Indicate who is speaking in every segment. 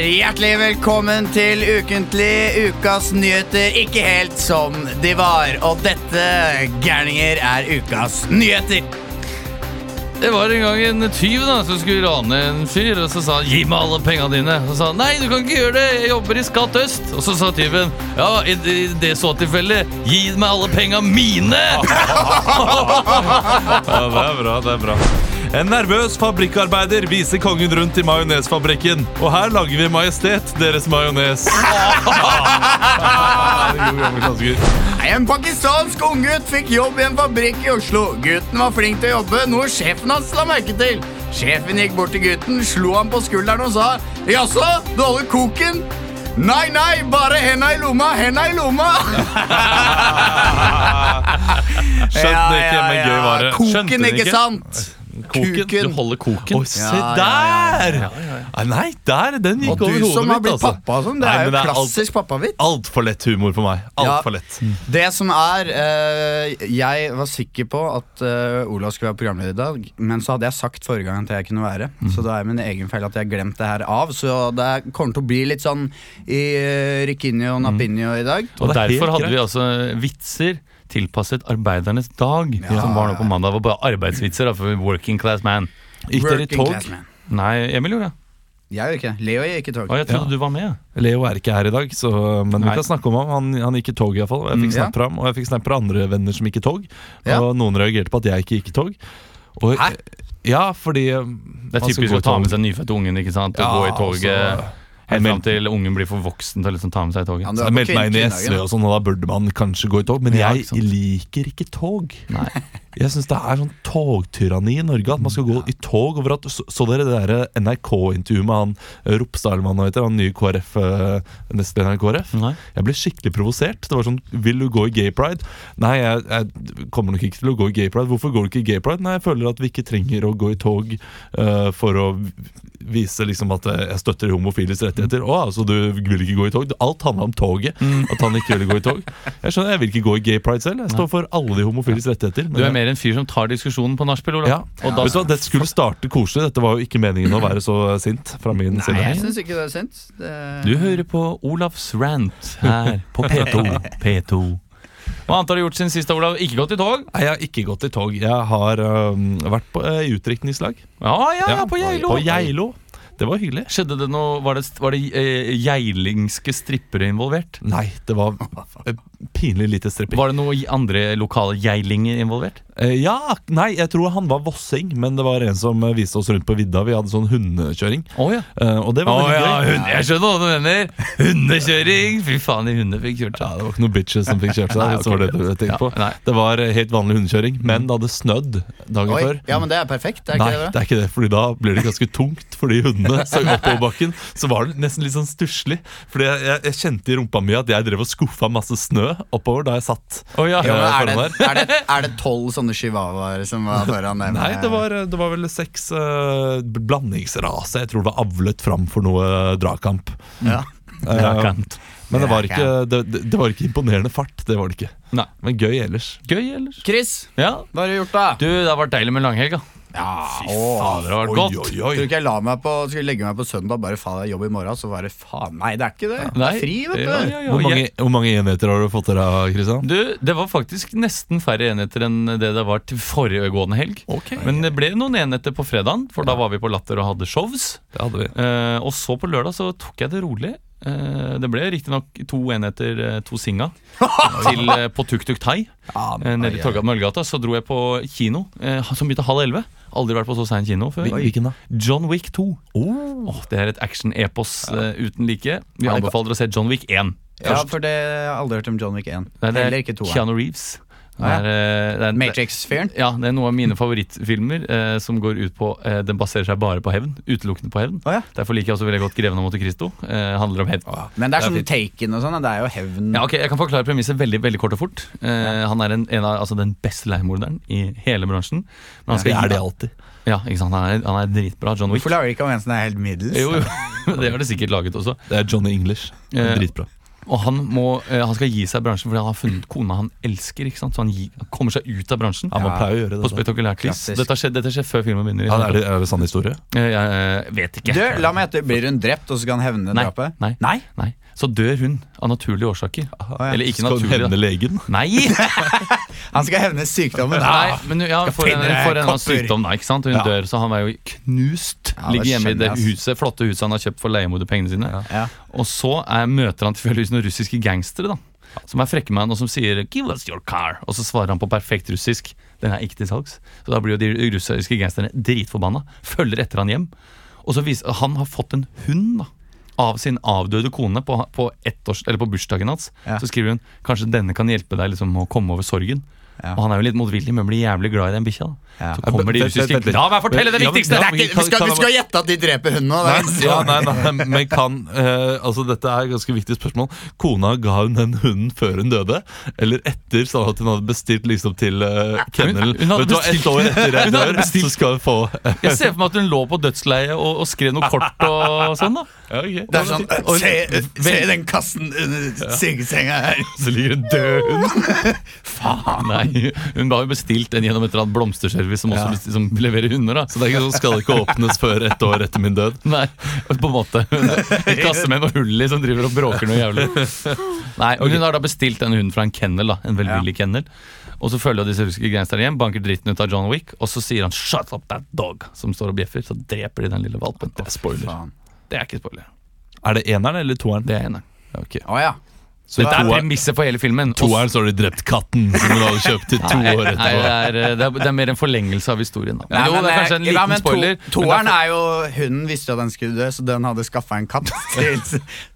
Speaker 1: Hjertelig velkommen til ukentlig ukas nyheter ikke helt som de var. Og dette, gærninger, er ukas nyheter.
Speaker 2: Det var en gang en tyv da, som skulle rane en fyr, og så sa han 'gi meg alle penga dine'. Og så sa han 'nei, du kan ikke gjøre det, jeg jobber i Skatt øst'. Og så sa tyven 'ja, i, i det så tilfellet, gi meg alle penga mine'.
Speaker 3: Ja, det er bra, det er bra.
Speaker 1: Eh,
Speaker 3: En nervøs fabrikkarbeider viser kongen rundt i majonesfabrikken. Og her lager vi Majestet, deres majones. Ja, det er god gammel klassiker.
Speaker 1: En pakistansk unggutt fikk jobb i en fabrikk i Oslo. Gutten var flink til å jobbe, noe sjefen hans la merke til. Sjefen gikk bort til gutten, slo ham på skulderen og sa Jaså, du holder koken? Nei, nei, bare henda i lomma, henda i lomma.
Speaker 3: Skjønte ikke, men gøy var det. Skjønte
Speaker 1: Koken,
Speaker 3: den
Speaker 1: ikke sant?
Speaker 3: Koken.
Speaker 1: Kuken.
Speaker 2: Du holder koken.
Speaker 3: Oi, se
Speaker 1: Ja, ja,
Speaker 3: der! Ah, Nei, der, den
Speaker 1: Og
Speaker 3: gikk over
Speaker 1: du
Speaker 3: hodet
Speaker 1: som har
Speaker 3: mitt,
Speaker 1: blitt
Speaker 3: altså.
Speaker 1: pappa og sånn, det
Speaker 3: Nei,
Speaker 1: er
Speaker 3: men
Speaker 1: jo
Speaker 3: det er alt-
Speaker 1: klassisk pappavits.
Speaker 3: Altfor lett humor for meg.
Speaker 1: Ja.
Speaker 3: Altfor lett.
Speaker 1: Det som er eh, Jeg var sikker på at eh, Olav skulle være programleder i dag, men så hadde jeg sagt forrige gang at jeg kunne være.
Speaker 3: Mm.
Speaker 1: Så da er min egen feil at jeg har glemt det her av. Så det er- kommer til å bli litt sånn i uh, Rikinio og Napinio i dag.
Speaker 2: Og
Speaker 3: Mm. Og det er
Speaker 2: derfor
Speaker 3: helt
Speaker 2: hadde
Speaker 3: greit.
Speaker 2: vi altså vitser tilpasset arbeidernes dag, som var nå på mandag. Det var bare arbeidsvitser da, for working class man.
Speaker 3: Gikk dere i
Speaker 1: Working
Speaker 3: tog?
Speaker 1: class man.
Speaker 2: Nei, Emil gjorde det.
Speaker 1: Jeg gjør ikke det. Leo gikk i tog.
Speaker 2: Å, jeg trodde du var med.
Speaker 3: Leo er ikke her i dag, så, men
Speaker 2: Nei.
Speaker 3: vi kan snakke om ham. Han, han gikk i tog, iallfall. Jeg
Speaker 1: Mm.
Speaker 3: fikk snap fra ham, og jeg fikk snap fra andre venner som gikk i tog.
Speaker 1: Ja.
Speaker 3: Og noen reagerte på at jeg ikke gikk i tog. Og,
Speaker 1: Hæ?
Speaker 3: Ja, fordi um,
Speaker 2: Det er
Speaker 3: man skal gå
Speaker 2: typisk
Speaker 3: i
Speaker 2: å ta
Speaker 3: tog.
Speaker 2: med seg nyfødte ungen ikke sant? og
Speaker 3: Ja,
Speaker 2: gå i toget
Speaker 3: altså, jeg
Speaker 2: helt fram
Speaker 3: meldte-
Speaker 2: til ungen blir for voksen til å liksom ta med seg i
Speaker 1: Ja,
Speaker 2: toget.
Speaker 1: men du er
Speaker 3: Jeg
Speaker 1: på
Speaker 3: meldte meg inn i
Speaker 1: kvinnedagen,
Speaker 3: SV
Speaker 1: da.
Speaker 3: og sånn, og da burde man kanskje gå i tog. Men
Speaker 2: Ja,
Speaker 3: jeg
Speaker 2: ikke sant.
Speaker 3: liker ikke tog.
Speaker 2: Nei.
Speaker 3: Jeg syns det er sånn togtyranni i Norge. At man skal gå i tog over at Så, så dere det der NRK-intervjuet med han eh, Ropstad, eller hva han heter, han nye KrF, eh, nestlederen i KrF?
Speaker 2: Nei.
Speaker 3: Jeg ble skikkelig provosert. Det var sånn Vil du gå i gay pride? Nei, jeg, jeg kommer nok ikke til å gå i gay pride. Hvorfor går du ikke i gay pride? Nei, jeg føler at vi ikke trenger å gå i tog eh, for å vise liksom at eh, jeg støtter homofiles rettigheter. Å, altså du vil ikke gå i tog? Alt handla om toget.
Speaker 2: Mm.
Speaker 3: At han ikke ville gå i tog. Jeg skjønner, jeg vil ikke gå i gay pride selv. Jeg står for alle de homofiles rettigheter. men
Speaker 2: Du er
Speaker 3: jeg-
Speaker 2: mer en fyr som tar diskusjonen på nachspiel, Olav.
Speaker 3: ja.
Speaker 2: Og da
Speaker 3: Vet du hva, Dette skulle starte koselig. Dette var jo ikke meningen å være så sint fra min
Speaker 1: Nei,
Speaker 3: side.
Speaker 1: jeg syns ikke det er sint. Det...
Speaker 2: Du hører på Olavs rant her på P2. P2. Hva annet har du gjort siden sist, Olav? Ikke gått i tog?
Speaker 3: Nei, jeg har ikke gått i tog. Jeg har øhm, vært på, øh, i utdrikningslag.
Speaker 2: Ja, ja, ja, på Geilo.
Speaker 3: På Geilo. Det var hyggelig.
Speaker 2: Skjedde det noe Var det, var det eh, geilingske strippere involvert?
Speaker 3: Nei, det var øh, pinlig lite stripping.
Speaker 2: Var det noe i- andre lokale geilinger involvert?
Speaker 3: Eh, ja, nei, jeg tror han var vossing, men det var en som øh, viste oss rundt på vidda. Vi hadde sånn hundekjøring,
Speaker 2: Å ja.
Speaker 3: eh, og det
Speaker 2: Å
Speaker 3: var veldig
Speaker 2: ja,
Speaker 3: gøy.
Speaker 2: hun, jeg skjønner hva du mener. Hundekjøring! Fy faen, de hundene fikk kjørt
Speaker 3: Ja,
Speaker 2: seg.
Speaker 3: det var ikke noen bitches som fikk kjørt seg.
Speaker 2: Nei,
Speaker 3: hvis det var
Speaker 2: ok,
Speaker 3: det du tenkte
Speaker 2: Ja,
Speaker 3: på.
Speaker 2: nei.
Speaker 3: Det var eh, helt vanlig hundekjøring, men det hadde snødd dagen
Speaker 1: Oi,
Speaker 3: før.
Speaker 1: ja, men det er perfekt. Det er
Speaker 3: Nei,
Speaker 1: ikke det
Speaker 3: det er ikke det, Fordi da blir det ganske tungt for de hundene. Så oppover bakken Så var det nesten litt sånn stusslig. Fordi jeg, jeg, jeg kjente i rumpa mi at jeg drev og skuffa masse snø oppover da jeg satt.
Speaker 2: Å ja.
Speaker 1: Ja, men
Speaker 3: Ja,
Speaker 1: er det,
Speaker 3: foran
Speaker 1: er det, er det tolv sånne chihuahuaer som var foran deg?
Speaker 3: Nei, det var, det var vel seks uh, blandingsrase. Jeg tror det var avlet fram for noe eh, dragkamp.
Speaker 1: ja.
Speaker 3: Eh,
Speaker 2: Drakant.
Speaker 3: men det var, ikke, det, det det var ikke imponerende fart. Det var det ikke.
Speaker 2: Nei.
Speaker 3: Men gøy ellers.
Speaker 2: Gøy, ellers?
Speaker 1: Chris,
Speaker 2: Ja.
Speaker 1: hva har du gjort, da?
Speaker 2: Du, det har vært deilig med langhelg, da.
Speaker 1: Ja, Fy
Speaker 2: fader, det har vært godt.
Speaker 3: Oi,
Speaker 1: Tror
Speaker 3: oi,
Speaker 1: du ikke jeg la meg på, skulle legge meg på søndag bare faen, jeg har jobb i morgen, så var det faen Nei, det er ikke det. Det
Speaker 2: Nei.
Speaker 1: er fri, vet
Speaker 2: Ja,
Speaker 1: du.
Speaker 2: ja, ja.
Speaker 3: Hvor mange,
Speaker 2: Jeg-
Speaker 3: hvor mange enheter har du fått dere av, Kristian?
Speaker 2: Du, det var faktisk nesten færre enheter enn det det var til foregående helg.
Speaker 3: Ok.
Speaker 2: Men det ble noen enheter på fredagen, for da var vi på Latter og hadde shows.
Speaker 3: Det hadde vi.
Speaker 2: Eh, og så på lørdag så tok jeg det rolig. Eh, det ble riktignok to enheter, eh, to singa, til, eh, på Tuk Tuk Thai
Speaker 1: Ja,
Speaker 2: eh, nede i Torgat Møllegata. Så dro jeg på kino, eh, som begynte halv elleve. Aldri vært på så sein kino før.
Speaker 3: Hvil- Hvilken da?
Speaker 2: John Wick 2. Åh, det er et action-epos eh, uten like. Vi
Speaker 3: Ja, det-
Speaker 2: anbefaler å se John Wick 1.
Speaker 1: Ja, for det jeg har aldri hørt om John Wick 1.
Speaker 2: Nei, det
Speaker 1: Heller
Speaker 2: er
Speaker 1: ikke 2.
Speaker 2: Keanu Reeves. Det er,
Speaker 1: Ja.
Speaker 2: eh, det er, en-
Speaker 1: Matrix-fyren.
Speaker 2: ja, det er noen av mine favorittfilmer eh, som går ut på eh, Den baserer seg bare på hevn. Utelukkende på hevn.
Speaker 1: Å, ja.
Speaker 2: Derfor liker jeg også veldig godt 'Greven av Monte Cristo'. Eh, handler om hevn.
Speaker 1: Men det er sånn taken og sånn. Det er jo hevn.
Speaker 2: Ja, ok, Jeg kan forklare premisset veldig veldig kort og fort. Eh, Han er en, en av, altså den beste leiemorderen i hele bransjen. Men han
Speaker 3: Det
Speaker 2: skal
Speaker 3: er
Speaker 2: gi-
Speaker 3: det alltid.
Speaker 2: Ja, ikke sant? Han er, han er dritbra. John Wick.
Speaker 1: Hvorfor lager de ikke om en som er helt middels?
Speaker 2: Jo, jo. Det har det sikkert laget også.
Speaker 3: Det er Johnny English.
Speaker 2: Eh,
Speaker 3: Dritbra.
Speaker 2: Og han, må, eh, han skal gi seg i bransjen fordi han har funnet kona han elsker. ikke sant? Så han, gi- han kommer seg ut av bransjen.
Speaker 3: Ja, man pleier å gjøre det.
Speaker 2: På
Speaker 3: da.
Speaker 2: spektakulærkliss.
Speaker 1: Klassisk.
Speaker 2: Dette, har skjedd- dette skjer før filmen begynner.
Speaker 3: Ja, er, det, er det sann historie?
Speaker 2: Jeg, jeg vet ikke.
Speaker 1: Du, la meg etter, Blir hun drept, og så skal han hevne
Speaker 2: Nei,
Speaker 1: drapet?
Speaker 2: nei. Nei. Så dør hun av naturlige årsaker.
Speaker 1: ja.
Speaker 2: Eller ikke
Speaker 3: Skal hun
Speaker 2: naturlig.
Speaker 3: hevne
Speaker 2: da.
Speaker 3: legen?
Speaker 2: Nei!
Speaker 1: Han skal hevne sykdommen.
Speaker 2: Nei, men ja, for en,
Speaker 1: finne
Speaker 2: for en annen
Speaker 1: kopper.
Speaker 2: sykdom, da. ikke sant? Hun
Speaker 3: Ja.
Speaker 2: dør, så han var jo knust.
Speaker 1: Ja, det
Speaker 2: Ligger hjemme i det
Speaker 1: skjønner jeg, ass.
Speaker 2: huset, flotte huset han har kjøpt for leiemoderpengene sine.
Speaker 1: Ja.
Speaker 2: Og så er, møter han tilfeldigvis noen russiske gangstere, da. Som er frekke med han, og som sier 'give us your car'. Og så svarer han på perfekt russisk. Den er ikke til salgs. Så da blir jo de russiske gangsterne dritforbanna. Følger etter han hjem. Og så viser, Han har fått en hund da av sin avdøde kone på, på, ettårs, eller på bursdagen hans.
Speaker 1: Ja.
Speaker 2: Så skriver hun 'kanskje denne kan hjelpe deg liksom, å komme over sorgen'.
Speaker 1: Ja.
Speaker 2: Og han er jo litt motvillig, men blir jævlig glad i den bikkja. da
Speaker 1: Ja.
Speaker 2: Så kommer de
Speaker 3: Vent, vent, vent
Speaker 2: russiske
Speaker 3: litt.
Speaker 2: La meg fortelle det
Speaker 3: Ja, men-
Speaker 2: viktigste!
Speaker 3: ja,
Speaker 2: Det er
Speaker 3: men-
Speaker 2: ikke-
Speaker 4: Vi skal, vi skal gjette at de dreper hunden nå.
Speaker 3: Nei,
Speaker 4: det er-
Speaker 3: ja, nei, nei, men kan eh, Altså, dette er et ganske viktig spørsmål. Kona ga hun den hunden før hun døde, eller etter, sånn at hun hadde bestilt liksom til eh, kennel?
Speaker 2: Hun- hun hadde
Speaker 3: Vet du hva,
Speaker 2: bestilt-
Speaker 3: Ett år etter jeg
Speaker 2: Hun hadde
Speaker 3: dør, så skal hun få
Speaker 2: Jeg ser for meg at hun lå på dødsleiet og, og skrev noe kort og sånn. da
Speaker 3: ja, ok.
Speaker 4: Det er sånn,
Speaker 2: Og-
Speaker 4: se, se
Speaker 2: Vel-
Speaker 4: den kassen under sengesenga her.
Speaker 3: Så ligger en død hund
Speaker 2: Nei, Hun har jo bestilt en gjennom et eller annet blomsterservice som også besti- som leverer hunder. da
Speaker 3: Så det er ikke sånn, skal ikke åpnes før ett år etter min død.
Speaker 2: Nei, på en måte. En kasse med noe hull i som driver og bråker noe jævlig. Nei, og Hun har da bestilt en hund fra en kennel, da, en velvillig kennel. Og så følger disse russiske gangsterne hjem, banker dritten ut av John Wick, og så sier han 'shut up that dog', som står og bjeffer. Så dreper de den lille valpen.
Speaker 3: Det er spoiler.
Speaker 1: Faen.
Speaker 2: Det er ikke spoiler.
Speaker 3: Er det eneren eller toeren?
Speaker 2: Det er eneren.
Speaker 3: Ja, ok.
Speaker 1: Å ja.
Speaker 3: Så
Speaker 2: Dette er
Speaker 3: toer-
Speaker 2: premisset for hele filmen.
Speaker 3: toeren så har de drept katten som hun hadde kjøpt i to
Speaker 2: Nei,
Speaker 3: år
Speaker 2: nei, det,
Speaker 3: etterpå.
Speaker 2: er, eh, det, er, det er mer en forlengelse av historien. Da.
Speaker 1: Nei,
Speaker 2: jo, det er
Speaker 1: eh,
Speaker 2: kanskje en
Speaker 1: ja,
Speaker 2: liten
Speaker 1: men to-
Speaker 2: spoiler.
Speaker 1: Toeren
Speaker 2: men
Speaker 1: er jo Hunden visste jo at den skulle dø, så den hadde skaffa en katt til,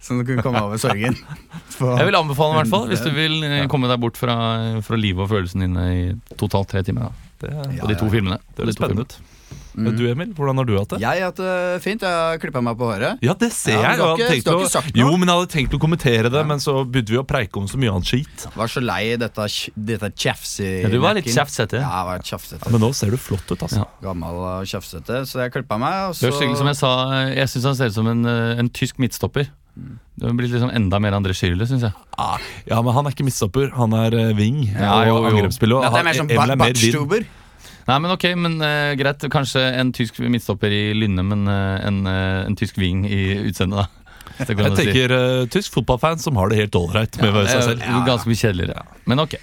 Speaker 1: så den kunne komme over sorgen. For-
Speaker 2: derfor- jeg vil anbefale den, i hvert fall, hvis du vil eh, komme deg bort fra, eh, fra livet og følelsene dine i totalt tre timer. Da.
Speaker 3: Det
Speaker 2: På de to filmene.
Speaker 3: høres
Speaker 2: De to filmene.
Speaker 3: spennende ut. Men Du Emil, hvordan har du hatt det?
Speaker 1: Jeg har hatt det fint. Jeg har klippa meg på håret.
Speaker 3: Ja, det ser
Speaker 1: Ja, men
Speaker 3: jeg.
Speaker 1: du
Speaker 3: og
Speaker 1: har
Speaker 3: jeg
Speaker 1: ikke-
Speaker 3: tenkte
Speaker 1: du har
Speaker 3: å-
Speaker 1: ikke sagt noe.
Speaker 3: jo, men jeg hadde tenkt å kommentere det, men så begynte vi å preike om så mye annet skit.
Speaker 1: Var så lei i dette, kj- dette tjafset.
Speaker 2: Ja, du var litt kjeftsete.
Speaker 1: Ja, jeg var tjafsete.
Speaker 3: Men nå ser du flott ut, altså.
Speaker 2: Ja.
Speaker 1: Gammel og tjafsete, så jeg klippa meg. Og
Speaker 2: Det
Speaker 1: så,
Speaker 2: høres ut som jeg sa, eh, jeg syns han ser ut som en, eh, en tysk midtstopper.
Speaker 1: Mm.
Speaker 2: Det har blitt liksom enda mer André Schirle, syns jeg.
Speaker 3: Ah, ja, men han er ikke midtstopper. Han er eh, wing
Speaker 2: Ja, jo,
Speaker 3: og
Speaker 2: jo.
Speaker 3: angrepsspiller. og
Speaker 1: Dette er
Speaker 3: han-
Speaker 1: mer som
Speaker 3: Emil er
Speaker 1: Bart-
Speaker 3: mer wing.
Speaker 1: Bartstuber.
Speaker 2: Nei, men ok, men eh, Greit, kanskje en tysk midtstopper i lynne, men eh, en, eh, en tysk wing i utseendet, da. Hvis det går an
Speaker 3: Jeg
Speaker 2: å si.
Speaker 3: tenker eh, tysk fotballfans som har det helt ålreit med
Speaker 2: Det
Speaker 3: seg
Speaker 2: er
Speaker 3: selv.
Speaker 2: Ganske mye kjedeligere. Men ok.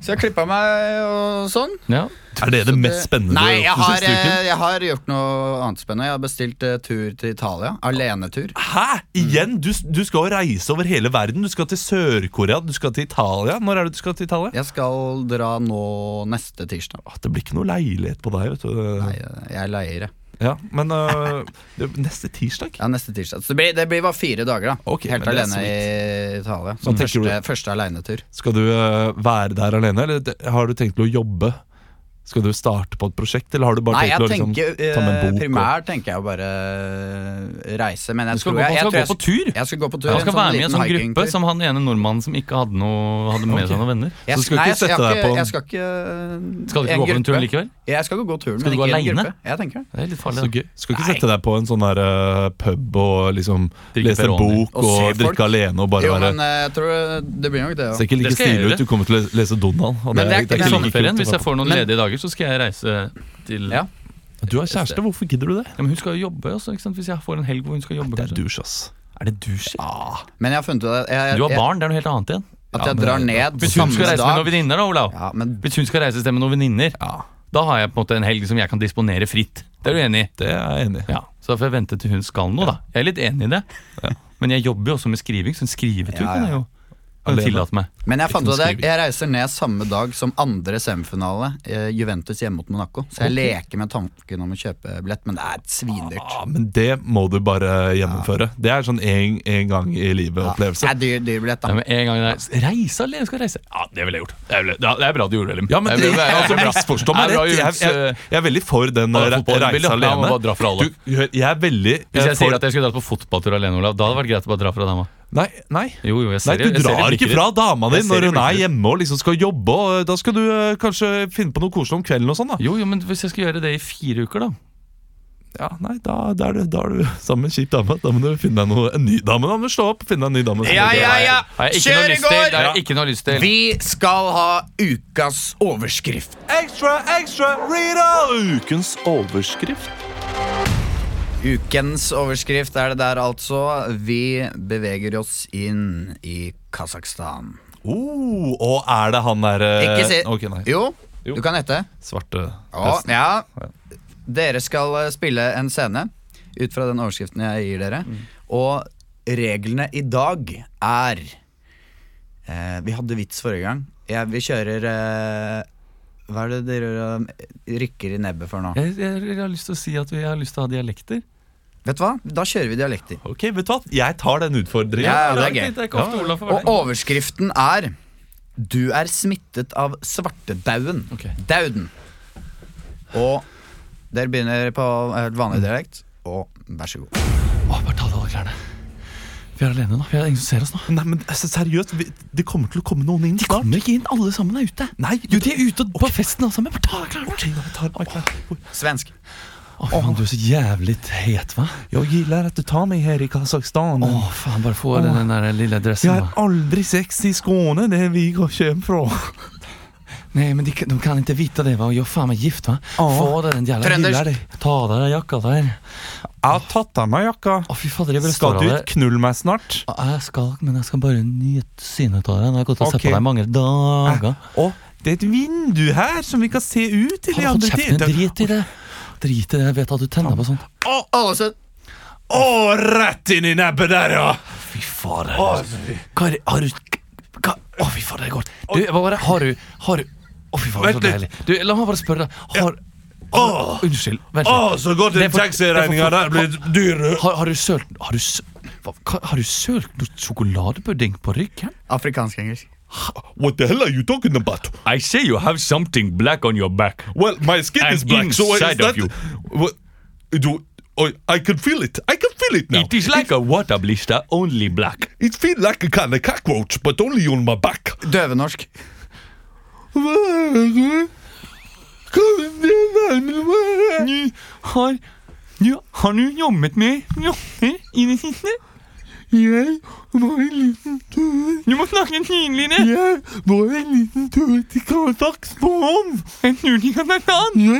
Speaker 1: Så jeg klippa meg og sånn.
Speaker 2: Ja.
Speaker 3: Er det det mest spennende
Speaker 1: Nei,
Speaker 3: du
Speaker 1: jeg
Speaker 3: har gjort
Speaker 1: har,
Speaker 3: den siste
Speaker 1: eh,
Speaker 3: uken?
Speaker 1: jeg har gjort noe annet spennende. Jeg har bestilt eh, tur til Italia. Alenetur.
Speaker 3: Hæ? Igjen? Du, du skal jo reise over hele verden. Du skal til Sør-Korea, du skal til Italia. Når er det du skal til Italia?
Speaker 1: Jeg skal dra nå neste tirsdag.
Speaker 3: Ah, Det blir ikke noe leilighet på deg, vet du.
Speaker 1: Nei, jeg leier det.
Speaker 3: Ja, men eh, det- neste tirsdag?
Speaker 1: Ja, neste tirsdag. Så det blir, det blir bare fire dager, da.
Speaker 3: Ok,
Speaker 1: Helt
Speaker 3: men det er
Speaker 1: alene i Italia.
Speaker 3: Hva
Speaker 2: Sånn
Speaker 1: Som
Speaker 3: tenker
Speaker 1: første, første alenetur.
Speaker 3: Skal du eh, være der alene, eller det- har du tenkt til å jobbe? Skal du starte på et prosjekt, eller har du bare
Speaker 1: Nei, jeg
Speaker 3: tenkt til å
Speaker 1: tenker
Speaker 3: liksom, ta med
Speaker 1: eh,
Speaker 3: en bok?
Speaker 1: primært tenker jeg å bare eh, reise, men jeg
Speaker 2: Du skal
Speaker 1: tror
Speaker 2: gå,
Speaker 1: jeg,
Speaker 2: han
Speaker 1: jeg,
Speaker 2: skal gå på
Speaker 1: tror jeg,
Speaker 2: tur.
Speaker 1: jeg skal gå på tur.
Speaker 2: Han skal
Speaker 1: en sånn
Speaker 2: være med i en
Speaker 1: liten
Speaker 2: sånn gruppe
Speaker 1: hikingtur.
Speaker 2: som han ene nordmannen som ikke hadde, noe, hadde med seg noen venner.
Speaker 1: Jeg
Speaker 3: Så skal du
Speaker 1: nei,
Speaker 3: ikke
Speaker 1: jeg skal-
Speaker 3: sette deg på-
Speaker 1: Jeg skal ikke, jeg ikke
Speaker 2: Skal du
Speaker 1: en
Speaker 2: ikke gå på den turen
Speaker 1: gruppe.
Speaker 2: likevel?
Speaker 1: Jeg skal jo gå turen,
Speaker 2: Skal du
Speaker 1: men
Speaker 2: gå
Speaker 1: ikke i en
Speaker 2: alene?
Speaker 1: gruppe. Jeg tenker det.
Speaker 2: Det er litt
Speaker 3: og- Så
Speaker 2: farlig. da.
Speaker 3: gøy. Skal ikke sette deg på en sånn der eh, pub og liksom
Speaker 2: Drikke
Speaker 3: lese en
Speaker 2: Peroni.
Speaker 3: bok
Speaker 1: Og
Speaker 3: og,
Speaker 1: se folk.
Speaker 3: drikke alene og bare
Speaker 1: Jo,
Speaker 3: være
Speaker 1: men eh, jeg tror det blir nok det,
Speaker 3: Det
Speaker 1: ja.
Speaker 3: ser ikke
Speaker 2: Det
Speaker 3: like
Speaker 2: skal jeg
Speaker 3: stilig
Speaker 2: gjøre.
Speaker 3: ut. Du kommer til å le- lese Donald. og
Speaker 1: Men det
Speaker 2: I
Speaker 1: er ikke-
Speaker 3: like
Speaker 2: sommerferien,
Speaker 3: kult å
Speaker 2: hvis jeg
Speaker 3: være
Speaker 2: får noen
Speaker 1: Men-
Speaker 2: ledige dager, så skal jeg reise til
Speaker 1: Ja.
Speaker 2: ja.
Speaker 3: på. Du har kjæreste, hvorfor gidder du det?
Speaker 2: men Hun skal jo jobbe også, ikke sant? hvis jeg får en helg hvor hun skal jobbe.
Speaker 3: Det er
Speaker 2: kanskje.
Speaker 3: douche, ass.
Speaker 2: Er det du sier?
Speaker 1: Men jeg har funnet ut at jeg,
Speaker 2: Du har
Speaker 1: jeg,
Speaker 2: barn, det er noe helt annet igjen.
Speaker 1: at jeg drar ned
Speaker 2: Hvis hun
Speaker 1: samme
Speaker 2: skal reise med noen
Speaker 1: dag.
Speaker 2: venninner, da, Olav.
Speaker 1: Ja, men
Speaker 2: Hvis hun skal reise sted med noen venninner,
Speaker 3: Ja,
Speaker 2: da har jeg på en måte en helg som jeg kan disponere fritt. Det er du enig i?
Speaker 3: det er jeg enig i.
Speaker 2: Ja, Så da får jeg vente til hun skal noe, da. Jeg er litt enig i det. Men jeg jobber jo også med skriving, så en skrivetur
Speaker 1: Ja, ja.
Speaker 2: kan jeg jo kan jeg
Speaker 3: Alene.
Speaker 2: tillate meg.
Speaker 1: Men jeg fant
Speaker 3: noe
Speaker 1: ut at jeg,
Speaker 3: skriving.
Speaker 1: jeg reiser ned samme dag som andre semifinale, eh, Juventus hjemme mot Monaco. Så jeg leker med tanken om å kjøpe billett, men det er svindyrt.
Speaker 2: Ah,
Speaker 3: Ja, Ah, men det må du bare gjennomføre. Det er sånn en, en gang i
Speaker 1: Det
Speaker 3: livet-opplevelse.
Speaker 1: er dyr, dyr billett,
Speaker 2: Ja,
Speaker 1: da.
Speaker 2: men en gang jeg reise alene, skal jeg reise? Ja, det ville jeg gjort. Det er, vel- ja, det er bra du gjorde det, Lim.
Speaker 3: Ja, men
Speaker 2: det,
Speaker 3: det,
Speaker 2: er bra- det er
Speaker 3: altså,
Speaker 2: bra.
Speaker 3: misforstå meg
Speaker 2: Det er bra
Speaker 3: rett. Jeg,
Speaker 2: gjort,
Speaker 3: jeg,
Speaker 2: eh,
Speaker 3: jeg er veldig for den
Speaker 2: alle
Speaker 3: re
Speaker 2: fotballbilder.
Speaker 3: reise
Speaker 2: Ja, man må
Speaker 3: alene.
Speaker 2: bare dra fra alle.
Speaker 3: Du, hør, jeg er veldig
Speaker 2: Hvis jeg
Speaker 3: Eh, for-
Speaker 2: sier at jeg skulle dratt på fotballtur alene, Olav, da hadde det vært greit å bare dra fra dama.
Speaker 3: Nei, nei.
Speaker 2: Jo, jo, jeg ser
Speaker 3: Nei,
Speaker 2: det-
Speaker 3: Du
Speaker 2: jeg ser det
Speaker 3: drar
Speaker 2: blikket
Speaker 3: ikke
Speaker 2: ditt.
Speaker 3: fra dama di
Speaker 2: Jeg ser
Speaker 3: når
Speaker 2: det
Speaker 3: hun er
Speaker 2: blikket ditt.
Speaker 3: hjemme og liksom skal jobbe. Og eh, da skal du eh, kanskje finne på noe koselig om kvelden og sånn, da.
Speaker 2: Jo, jo, men hvis jeg skal gjøre det i fire uker, da
Speaker 3: Ja, nei, da, da, er du, da er du sammen med en kjip dame. Da må du finne deg noe, en ny dame. Da må du slå opp, finne deg en ny dame.
Speaker 4: Ja, ja, ja.
Speaker 2: Har jeg ikke noe
Speaker 4: Kjør i
Speaker 2: lyst til. Det
Speaker 4: går!
Speaker 2: har jeg ikke noe lyst til.
Speaker 4: Vi skal ha ukas overskrift.
Speaker 3: Extra, extra, Rita! Ukens overskrift.
Speaker 1: Ukens overskrift er det der, altså. Vi beveger oss inn i Kasakhstan.
Speaker 3: Oh, og er det han derre
Speaker 2: Eh,
Speaker 1: Ikke si
Speaker 3: Ok, nei.
Speaker 1: Jo,
Speaker 3: Jo.
Speaker 1: du kan hete.
Speaker 3: Svarte
Speaker 1: Ja,
Speaker 3: presten.
Speaker 1: ja. Dere skal eh, spille en scene ut fra den overskriften jeg gir dere.
Speaker 2: Mm.
Speaker 1: Og reglene i dag er eh, Vi hadde vits forrige gang. Jeg, vi kjører eh, Hva er det dere eh, rykker i nebbet for nå?
Speaker 2: Jeg, jeg, jeg har lyst til å si at vi har lyst til å ha dialekter.
Speaker 1: Vet du hva? Da kjører vi dialekter.
Speaker 3: Ok, vet du hva? Jeg tar den utfordringen.
Speaker 1: Ja, det er gøy.
Speaker 2: Det er ikke ofte Olav får
Speaker 1: Og
Speaker 2: være med.
Speaker 1: overskriften er Du er smittet av svartedauden.
Speaker 2: Ok.
Speaker 1: Dauden. Og dere begynner på eh, vanlig dialekt, og vær så god.
Speaker 2: Å, Bare ta av deg alle klærne. Vi er alene nå. Vi er ingen som ser oss nå.
Speaker 3: Nei, men altså, seriøst, vi, det kommer til å komme noen inn snart.
Speaker 2: Kommer ikke inn. Alle sammen er ute.
Speaker 3: Nei,
Speaker 2: Jo, de er ute på festen alle sammen. Bare ta av deg klærne.
Speaker 3: Jeg tar meg klær.
Speaker 1: Svensk.
Speaker 2: Å, fy faen, du er så jævlig het, hva?
Speaker 3: Jeg liker at du tar meg her i Kasakhstan.
Speaker 2: Å, faen, bare få den, den der lille
Speaker 3: Jeg
Speaker 2: dressen,
Speaker 3: har
Speaker 2: da.
Speaker 3: aldri sex i Skåne, det vi kommer fra.
Speaker 2: Nei, men de, kan- de kan ikke vite det, hva? Jeg er faen meg gift, hva? Få deg den jævla
Speaker 1: Trøndersk.
Speaker 2: lilla di. Ta av deg den jakka der.
Speaker 3: Jeg har tatt av meg jakka.
Speaker 2: Å, fy fader, jeg bare
Speaker 3: Skal
Speaker 2: står
Speaker 3: du
Speaker 2: av
Speaker 3: ikke
Speaker 2: det.
Speaker 3: knulle meg snart?
Speaker 2: Jeg skal, men jeg skal bare nyte synet av deg. Nå har jeg gått og sett
Speaker 3: Ok.
Speaker 2: på deg i mange
Speaker 3: Ah.
Speaker 2: dager.
Speaker 3: Og det er et vindu her som vi kan se ut til i
Speaker 2: Hold
Speaker 3: andre
Speaker 2: kjeften din.
Speaker 3: tider.
Speaker 2: Drit i det. Drit i det. Jeg vet at du tenner på sånt.
Speaker 1: Ålesund.
Speaker 3: Å, rett inn i nebbet der, ja!
Speaker 2: Fy fader. Hva er det Har du hva? Å, fy fader, det er godt. Du, hva var det? Har du Har du Å, fy fader, så
Speaker 3: Vent litt.
Speaker 2: deilig. Du, la meg bare spørre deg. Har
Speaker 3: Å,
Speaker 2: Unnskyld. Vent
Speaker 3: å,
Speaker 2: litt.
Speaker 3: Ah, så godt
Speaker 2: Det er
Speaker 3: den
Speaker 2: for-
Speaker 3: taxiregninga
Speaker 2: det er
Speaker 3: der
Speaker 2: for-
Speaker 3: blir dyr.
Speaker 2: Har, har du sølt Har du sø- hva- hva- Har du sølt noe sjokoladepudding på ryggen?
Speaker 1: Afrikansk-engelsk.
Speaker 3: What the hell are you talking about?
Speaker 5: I say you have something black on your back.
Speaker 3: Well, my skin
Speaker 5: And
Speaker 3: is black, so is
Speaker 5: inside of
Speaker 3: that...
Speaker 5: you.
Speaker 3: What, do, oh, I can feel it. I can feel it now.
Speaker 5: It is like a water blister, only black.
Speaker 3: It feels like a kind of cockroach, but only on my back.
Speaker 1: Døvenorsk.
Speaker 3: Hva er det? Hva er det nærmere? Hva er det?
Speaker 5: Har, ja, har du jobbet med rotter i det siste?
Speaker 3: Jeg var en liten tur.
Speaker 5: Du må snakke tydeligere.
Speaker 3: Jeg var en liten tur til Kasakhstan.
Speaker 5: En tur til Kasakhstan.
Speaker 3: Ja.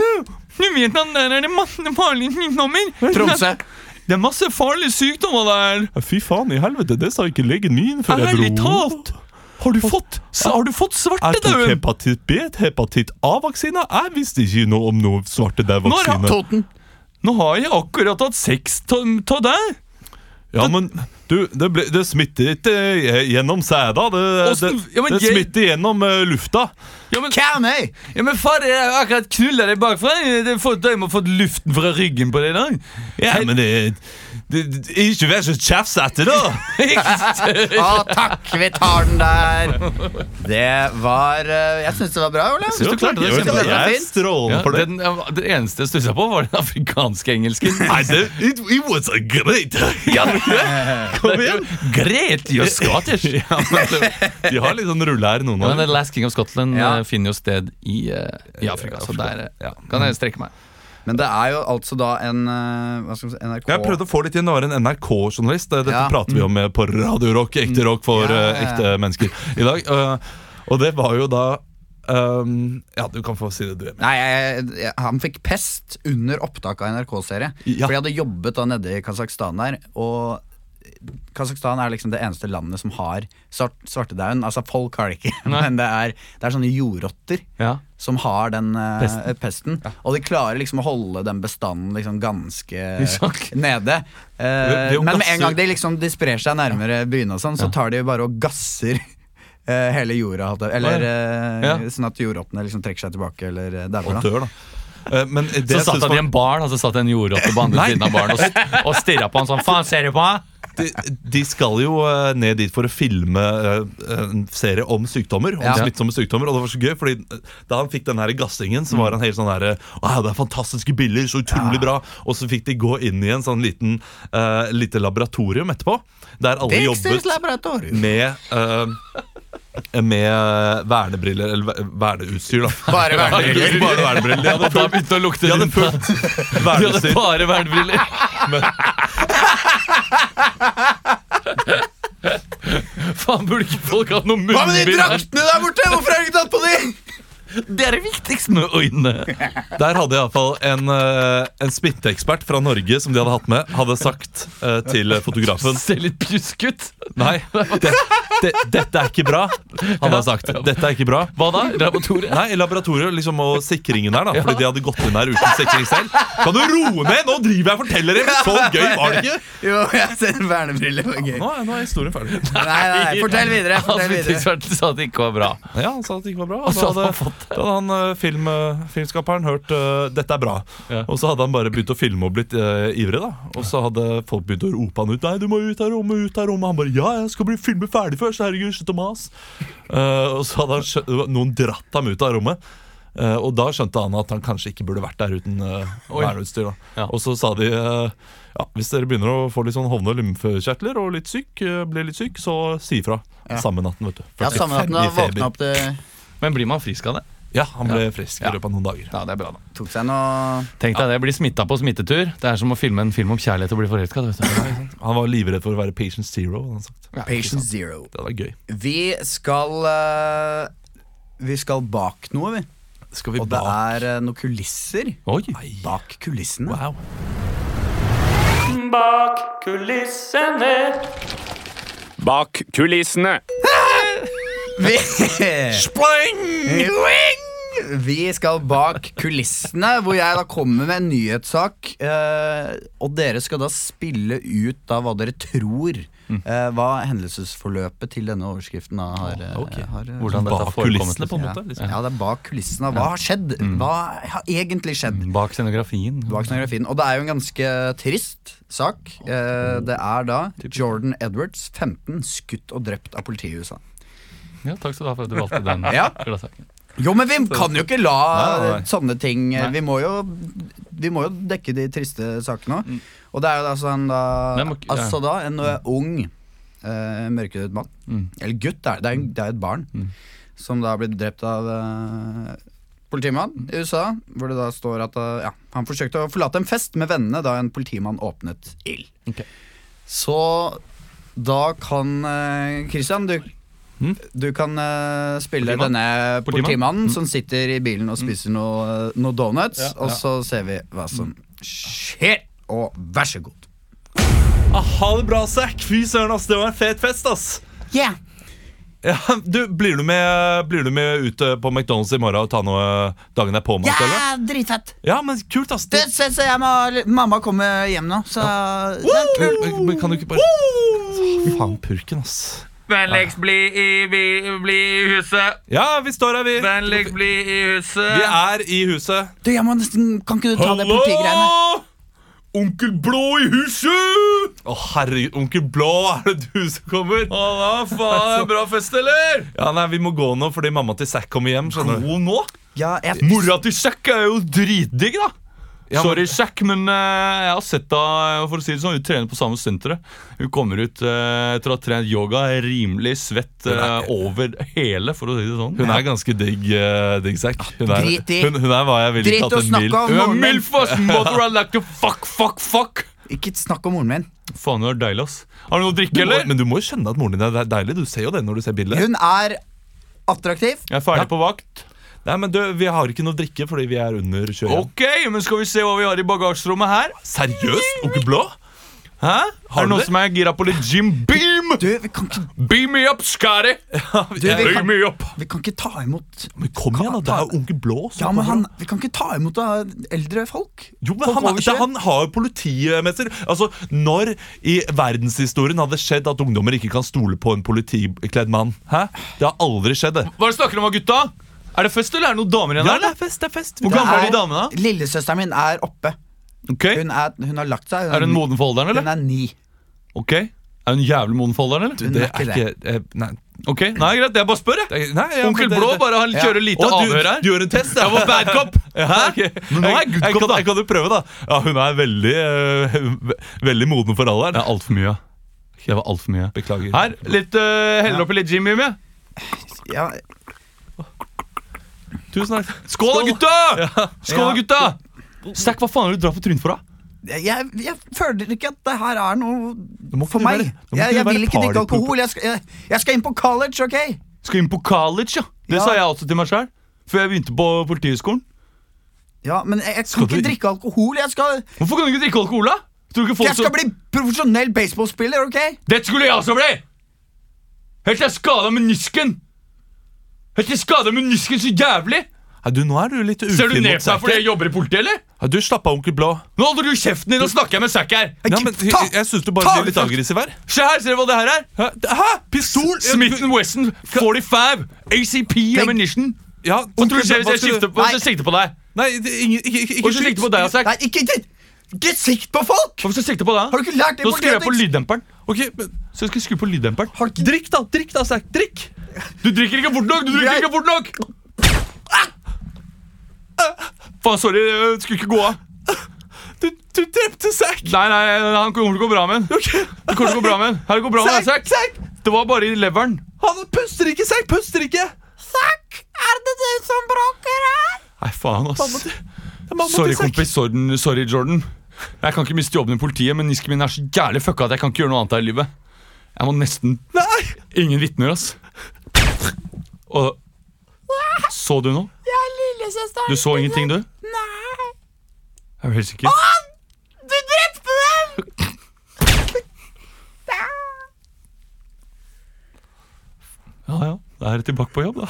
Speaker 5: Du vet at der er det masse farlige sykdommer.
Speaker 1: Tromsø.
Speaker 5: Det er masse farlige sykdommer der.
Speaker 3: Fy faen i helvete, det sa ikke legen min før jeg dro.
Speaker 5: Ærlig talt. Har du fått, så har du fått
Speaker 3: Jeg tok
Speaker 5: svartedauden?
Speaker 3: hepatitt B, hepatitt A-vaksina. Jeg visste ikke noe om noe svarte der
Speaker 5: Når har
Speaker 3: vaksine.
Speaker 1: Toten.
Speaker 5: Nå har jeg akkurat hatt sex av deg.
Speaker 3: Ja, men du, det, ble, det smitter ikke eh, gjennom sæda. Det, det,
Speaker 5: Åssen- ja, men
Speaker 3: det
Speaker 5: jeg-
Speaker 3: smitter gjennom eh, lufta.
Speaker 5: Ja, men,
Speaker 1: Karmøy.
Speaker 5: ja, men far, jeg har akkurat knulla deg bakfra. Jeg må ha fått luften fra ryggen på deg i dag.
Speaker 3: Ja, men det, det, det Ikke vær så tjafsete, da!
Speaker 1: Å, takk, vi tar den der. Det var eh, Jeg syns det var bra, Olav.
Speaker 2: Syns du klarte det?
Speaker 3: Jo, takk.
Speaker 2: kjempebra.
Speaker 1: det var
Speaker 3: Jeg er
Speaker 1: fint.
Speaker 3: strålende
Speaker 2: Ja,
Speaker 3: for det.
Speaker 2: den, det eneste jeg stussa på, var den afrikanske engelsken.
Speaker 3: Nei, det it, it was a great ja, Kom igjen!
Speaker 2: Great, you're Scottish!
Speaker 3: Ja, men det- de har litt sånn rulle her, noen
Speaker 2: Ja,
Speaker 3: av
Speaker 2: men The
Speaker 3: dem.
Speaker 2: Last King of Scotland
Speaker 1: Ja.
Speaker 2: eh, finner jo sted i, eh, i Afrika, så der eh, ja, kan jeg strekke meg.
Speaker 1: Men det er jo altså da en eh, Hva skal vi si NRK
Speaker 3: Jeg prøvde å få litt igjen, det var en NRK-journalist. Dette
Speaker 1: Ja.
Speaker 3: prater vi om eh, på Radio Rock, ekte rock for
Speaker 1: Ja, ja,
Speaker 3: eh,
Speaker 1: ja.
Speaker 3: ekte mennesker i dag. Eh, og det var jo da ehm, Ja, du kan få si det du er med.
Speaker 1: Nei, jeg, jeg, han fikk pest under opptak av NRK-serie.
Speaker 3: Ja.
Speaker 1: For jeg hadde jobbet da nede i Kasakhstan der, og Kasakhstan er liksom det eneste landet som har svart, svartedauden. Altså, folk har det ikke, men det er, det er sånne jordrotter
Speaker 2: Ja.
Speaker 1: som har den eh, pesten. Og de klarer liksom å holde den bestanden liksom ganske
Speaker 2: sjakk.
Speaker 1: nede. Eh,
Speaker 3: Det- det er jo
Speaker 1: men med en
Speaker 3: gasser.
Speaker 1: gang de liksom de sprer seg nærmere byene og sånn, så tar de jo bare og gasser. eh, Hele jorda, hadde- eller eh,
Speaker 2: Ja.
Speaker 1: sånn at jordrottene liksom trekker seg tilbake, eller eh, dauer. da.
Speaker 3: Og dør, da. Eh, men det
Speaker 2: Så
Speaker 3: jeg
Speaker 2: satt
Speaker 3: synes
Speaker 2: han i
Speaker 3: var-
Speaker 2: en barn, og så satt en jordrotte på andre
Speaker 3: Nei.
Speaker 2: siden av baren og, s- og stirra på han sånn. Faen, ser du på han?
Speaker 3: de, de skal jo eh, ned dit for å filme eh, en serie om sykdommer. Om
Speaker 1: Ja.
Speaker 3: smittsomme sykdommer Og det var så gøy, fordi eh, da han fikk den her gassingen, så var han helt sånn her eh, Å, det er fantastiske bilder, så utrolig bra. Og så fikk de gå inn i en sånn liten eh, lite laboratorium etterpå, der alle jobbet
Speaker 1: laboratorium.
Speaker 3: med eh, med eh, vernebriller, eller ver- verneutstyr, da.
Speaker 4: Bare vernebriller.
Speaker 3: Bare vernebriller. De hadde
Speaker 2: Da
Speaker 3: fullt,
Speaker 2: begynte det å lukte
Speaker 3: de hadde
Speaker 2: rundt her.
Speaker 3: fullt
Speaker 2: De hadde
Speaker 3: verneutstyr.
Speaker 2: bare vernebriller. Faen, burde ikke folk hatt noe
Speaker 4: Hva med de
Speaker 2: munnbind her?
Speaker 4: draktene der borte? Hvorfor har du ikke tatt på de?
Speaker 2: Det er det viktigste med øynene.
Speaker 3: Der hadde iallfall en, eh, en smitteekspert fra Norge som de hadde hatt med, hadde sagt eh, til fotografen
Speaker 2: Sånn, Ser litt pjusk ut.
Speaker 3: Nei, det, det, dette er ikke bra. Han har sagt dette er ikke bra.
Speaker 2: Hva da? Laboratoriet?
Speaker 3: Nei, i laboratoriet liksom, og sikringen der, da. Fordi de hadde gått inn der uten sikring selv. Kan du roe ned? Nå driver jeg og forteller dem! Så gøy var det ikke!
Speaker 4: Jo, jeg ser vernebriller. var gøy.
Speaker 3: Nå er, nå er historien ferdig.
Speaker 4: Nei, nei, nei, fortell videre.
Speaker 2: Han
Speaker 3: Altså,
Speaker 4: fortell videre
Speaker 2: sa at altså, det ikke var bra.
Speaker 3: Ja, Han sa at det ikke var bra.
Speaker 2: Og så hadde
Speaker 3: da
Speaker 2: han fått
Speaker 3: da hadde han eh, film, eh, filmskaperen hørt eh, 'dette er bra',
Speaker 2: Ja.
Speaker 3: og så hadde han bare begynt å filme og blitt eh, ivrig. da Og så hadde folk begynt å rope han ut 'nei, du må ut av rommet', ut av rommet. Han bare 'ja, jeg skal bli filmet ferdig først', herregud, slutt å mase. Eh, og så hadde han skjø- noen dratt ham ut av rommet. eh, og da skjønte han at han kanskje ikke burde vært der uten uh, verneutstyr. da.
Speaker 2: Ja.
Speaker 3: Og så sa de eh, ja, hvis dere begynner å få litt sånn hovne lymfekjertler og litt syk, eh, blir litt syk, så si ifra. Samme natten, vet du.
Speaker 4: Ja, Samme natten da
Speaker 3: 45 i feber.
Speaker 4: våkna opp til
Speaker 2: Men blir man frisk av det?
Speaker 3: Ja, han ble frisk i
Speaker 2: Ja.
Speaker 3: løpet av noen dager.
Speaker 2: Ja, det er bra da
Speaker 1: Tok seg noe
Speaker 2: Tenk deg det, bli smitta på smittetur. Det er som å filme en film om kjærlighet og bli forelska.
Speaker 3: Han var livredd for å være patient zero. hadde Han sagt.
Speaker 1: Patient zero.
Speaker 3: Det var gøy.
Speaker 1: Vi skal eh, Vi skal bak noe, vi.
Speaker 3: Skal vi
Speaker 1: Og det er eh, noen kulisser
Speaker 2: Oi.
Speaker 1: bak kulissene.
Speaker 3: Wow.
Speaker 6: Bak kulissene. Bak kulissene.
Speaker 1: Vi, Wing! vi skal bak kulissene, hvor jeg da kommer med en nyhetssak. eh, og dere skal da spille ut da hva dere tror.
Speaker 3: Mm.
Speaker 1: eh, hva hendelsesforløpet til denne overskriften da har, eh, har eh,
Speaker 2: Hvordan dette
Speaker 3: Bak
Speaker 2: har forekommet,
Speaker 3: kulissene, på
Speaker 2: liksom.
Speaker 3: en måte,
Speaker 2: Ja.
Speaker 3: liksom. Mm.
Speaker 2: Ja.
Speaker 1: Ja, det er bak kulissene. Hva har skjedd? Hva har egentlig skjedd?
Speaker 2: Bak scenografien.
Speaker 1: Bak scenografien. Og det er jo en ganske trist sak. Eh, det er da Jordan Edwards, 15, skutt og drept av politiet i USA.
Speaker 2: Ja, takk skal du ha for at du valgte den.
Speaker 1: Ja.
Speaker 2: gladsaken.
Speaker 1: Jo, men vi kan jo ikke la
Speaker 3: Nei, nei, nei.
Speaker 1: sånne ting eh,
Speaker 2: Nei.
Speaker 1: vi må, jo, vi må jo dekke de triste sakene òg. Og det er jo da sånn da,
Speaker 2: Nei, Mm. må ikke- ja.
Speaker 1: altså da en eh, ung uh, mørkhudet mann,
Speaker 2: Mm.
Speaker 1: eller gutt, det er det, er en- det er et barn, som da blir drept av eh, politimann i USA. Hvor det da står at eh, ja, han forsøkte å forlate en fest med vennene da en politimann åpnet ild.
Speaker 2: Ok.
Speaker 1: Så da kan eh, Christian, du du kan eh, spille
Speaker 2: Mm. Politimann? Politimann? Mm.
Speaker 1: denne politimannen som sitter i bilen og spiser noe, eh, noe donuts,
Speaker 2: Ja,
Speaker 1: og
Speaker 2: ja. Mm.
Speaker 1: så ser vi hva som skjer. Og vær så god.
Speaker 3: Ah, Ha det bra, Zack! Fy søren, ass, det var en fet fest, ass!
Speaker 1: Yeah.
Speaker 3: Ja, du, blir, du med, blir du med ut eh, på McDonald's i morgen og ta noe dagen er påmat, eller?
Speaker 1: dritfett.
Speaker 3: Ja, men kult, ass!
Speaker 1: Du, se, se, jeg må, mamma kommer hjem nå, så det er kult.
Speaker 3: Men, men kan du ikke bare Faen, purken, ass.
Speaker 5: Vennligst bli i, huset.
Speaker 3: Ja, vi står her, vi.
Speaker 5: Vennligst bli i
Speaker 3: Vi
Speaker 5: huset.
Speaker 3: er i huset.
Speaker 1: Du, jeg må nesten, kan ikke du ta det politigreiene?
Speaker 3: Onkel Blå i huset! Å, herregud, Onkel Blå, er det du som kommer?
Speaker 5: Halla, faen. Bra fest, eller?
Speaker 3: Ja, nei, Vi må gå nå fordi mamma til Zack kommer hjem. skjønner du
Speaker 5: Gå nå?
Speaker 1: Ja, jeg,
Speaker 5: Mora til Zack er jo dritdigg, da.
Speaker 3: Ja, men-
Speaker 5: Sorry, Zack, men eh, jeg har sett deg For å si det sånn, hun trener på samme senteret. Hun kommer ut eh, etter å ha trent yoga, er rimelig svett eh, over hele, for å si det sånn.
Speaker 3: Hun er ganske digg, eh, digg Zack. Hun, er-
Speaker 1: Drit i-
Speaker 3: hun, hun er hva jeg ville
Speaker 1: Drit
Speaker 3: kalt
Speaker 1: å
Speaker 3: en
Speaker 1: snakke
Speaker 3: mil.
Speaker 1: om.
Speaker 5: Hun er
Speaker 1: Moren min.
Speaker 5: Milfas mother, I like to fuck, fuck, fuck.
Speaker 1: ikke snakk om moren min.
Speaker 5: Faen, hun er deilig, ass. Har du noe å
Speaker 3: Du
Speaker 5: drikke,
Speaker 3: må,
Speaker 5: eller?
Speaker 3: men du må jo skjønne at moren din er de- deilig. Du ser jo det når du ser bildet.
Speaker 1: Hun er attraktiv.
Speaker 5: Jeg er ferdig på vakt.
Speaker 3: Nei, men du, Vi har ikke noe drikke fordi vi er under 21.
Speaker 5: Ok, men skal vi se hva vi har i bagasjerommet her?
Speaker 3: seriøst? Onkel Blå?
Speaker 5: Hæ? Er
Speaker 3: du
Speaker 5: det noen
Speaker 3: det?
Speaker 5: som er gira på litt Jim Beam?
Speaker 1: Du, vi kan ikke,
Speaker 5: Beam me up, Skari!
Speaker 1: du, vi
Speaker 5: Beam
Speaker 1: kan,
Speaker 5: me up!
Speaker 1: vi kan ikke ta imot
Speaker 3: Men kom igjen, da. Det er jo Onkel Blå. som
Speaker 1: Ja, men
Speaker 3: kommer
Speaker 1: han,
Speaker 3: opp.
Speaker 1: vi kan ikke ta imot da, eldre folk.
Speaker 3: jo, men
Speaker 1: Folk
Speaker 3: han, er-
Speaker 1: over
Speaker 3: det,
Speaker 1: 21.
Speaker 3: han har jo politimester. Altså, Når i verdenshistorien hadde det skjedd at ungdommer ikke kan stole på en politikledd mann? Hæ? Det har aldri skjedd, det.
Speaker 5: Hva er det snakker om, gutta? Er det fest, eller er det noen damer igjen?
Speaker 3: Ja,
Speaker 5: her,
Speaker 3: det er
Speaker 5: eller?
Speaker 3: fest, det er fest.
Speaker 5: Hvor
Speaker 3: Det
Speaker 5: gammel er
Speaker 3: er-
Speaker 5: de damene? da?
Speaker 1: Lillesøsteren min er oppe.
Speaker 5: Ok,
Speaker 1: Hun, er, hun har lagt seg. Hun
Speaker 5: Er hun moden for alderen,
Speaker 1: Hun
Speaker 5: eller?
Speaker 1: er ni.
Speaker 5: Ok, Er hun jævlig moden for alderen, eller?
Speaker 1: Hun
Speaker 3: Det
Speaker 1: er
Speaker 3: er
Speaker 1: ikke det.
Speaker 3: ikke eh, Nei.
Speaker 5: Ok, Nei, greit, jeg bare spør, jeg.
Speaker 3: Det er- nei, ja,
Speaker 5: Onkel
Speaker 3: men det-
Speaker 5: Blå
Speaker 3: det-
Speaker 5: bare har- kjører lite
Speaker 3: Å, du-
Speaker 5: avhør her.
Speaker 3: Du gjør en test, ja.
Speaker 5: Jeg var bad cop. Hæ?
Speaker 3: Ok.
Speaker 5: Men nå er jeg good
Speaker 3: jeg,
Speaker 5: cop,
Speaker 3: kan,
Speaker 5: da.
Speaker 3: jeg kan jo prøve, da. Ja, hun er veldig, eh, veldig moden for alderen.
Speaker 5: Det er altfor mye. eh, Det var alt for mye.
Speaker 3: Beklager.
Speaker 5: Her, litt, uh, heller oppi litt Jim Beam, jeg.
Speaker 1: ja,
Speaker 3: Tusen takk.
Speaker 2: Skål da, gutta! Skål da,
Speaker 1: Ja.
Speaker 2: gutta! Stack, hva faen er det du drar på trynet for, da?
Speaker 1: jeg, jeg føler ikke at det her er
Speaker 3: Det må
Speaker 1: noe
Speaker 3: ikke
Speaker 1: for meg.
Speaker 3: være- det må ikke
Speaker 1: Jeg, jeg
Speaker 3: være
Speaker 1: vil ikke drikke
Speaker 3: partypooper.
Speaker 1: alkohol. Jeg skal, jeg, jeg skal inn på college, OK?
Speaker 2: Skal inn på college, ja. Det
Speaker 1: Ja.
Speaker 2: sa jeg også til meg sjøl. Før jeg begynte på Politihøgskolen.
Speaker 1: Ja, Men jeg, jeg kan
Speaker 3: du-
Speaker 1: ikke drikke alkohol. Jeg skal,
Speaker 2: Hvorfor kan du ikke drikke alkohol, da? Tror du ikke folk
Speaker 1: jeg skal
Speaker 2: som-
Speaker 1: bli profesjonell baseballspiller, OK?
Speaker 2: Dette skulle jeg også bli! Helt til jeg skada menisken. Helt til jeg skada menisken så jævlig.
Speaker 3: Nei, du, nå er du litt ufin
Speaker 2: Ser du ned
Speaker 3: mot
Speaker 2: på meg fordi
Speaker 3: Sæker.
Speaker 2: jeg jobber i politiet, eller?
Speaker 3: Ja, du, slapp av, onkel Blå.
Speaker 2: Nå holder du kjeften din og snakker jeg med Zack her.
Speaker 3: Ja, men, jeg
Speaker 1: ta-
Speaker 3: jeg syns du bare
Speaker 1: ta-
Speaker 3: blir litt aggressiv her.
Speaker 2: Se her, ser du hva det her er?
Speaker 3: liksom. Hæ? Hæ? Pistol?
Speaker 2: Smith Wesson 45 ACP ammunition.
Speaker 3: Ja,
Speaker 2: Hva tror du skjer hvis jeg
Speaker 3: skulle-
Speaker 2: skifter på, hvis jeg sikter på deg?
Speaker 3: Nei, det, ingen, ikke, ikke, ikke
Speaker 2: Hvorfor sikter jeg på deg, Zack?
Speaker 1: Nei, ikke, ikke, ikke sikt på folk!
Speaker 2: Hvorfor sikter jeg på
Speaker 1: Har du
Speaker 2: deg?
Speaker 1: ikke lært det? i
Speaker 2: Nå skrur jeg på
Speaker 1: politiet?
Speaker 2: lyddemperen.
Speaker 3: Ok, men
Speaker 2: Så jeg skal skru på lyddemperen.
Speaker 1: Har du ikke-
Speaker 2: Drikk, da! Drikk, da, Zack. Drikk! Du drikker ikke fort nok! Du drikker
Speaker 1: Greit.
Speaker 2: ikke fort nok! Faen, sorry. jeg Skulle ikke gå av.
Speaker 3: du, du drepte Zack!
Speaker 2: Nei, nei, han kommer til å gå bra med den. Det kommer til å gå bra med den. Her går det bra med deg, Zack.
Speaker 3: Zack! Zack!
Speaker 2: Det var bare i leveren.
Speaker 3: Han puster ikke, Zack! Puster ikke!
Speaker 2: Nei, faen, ass.
Speaker 3: Mamma til
Speaker 2: Sorry,
Speaker 3: Zack.
Speaker 2: kompis. Sorry, sorry, Jordan. Jeg kan ikke miste jobben i politiet, men nisken min er så jævlig fucka at jeg kan ikke gjøre noe annet her i livet. Jeg må nesten
Speaker 3: Nei!
Speaker 2: Ingen vitner, ass. Og Så du noe? Ja, lillesøster. Du så ingenting, du? Nei. Jeg er helt sikker. Du drepte dem! Ja, ja. Da er jeg tilbake på jobb, da.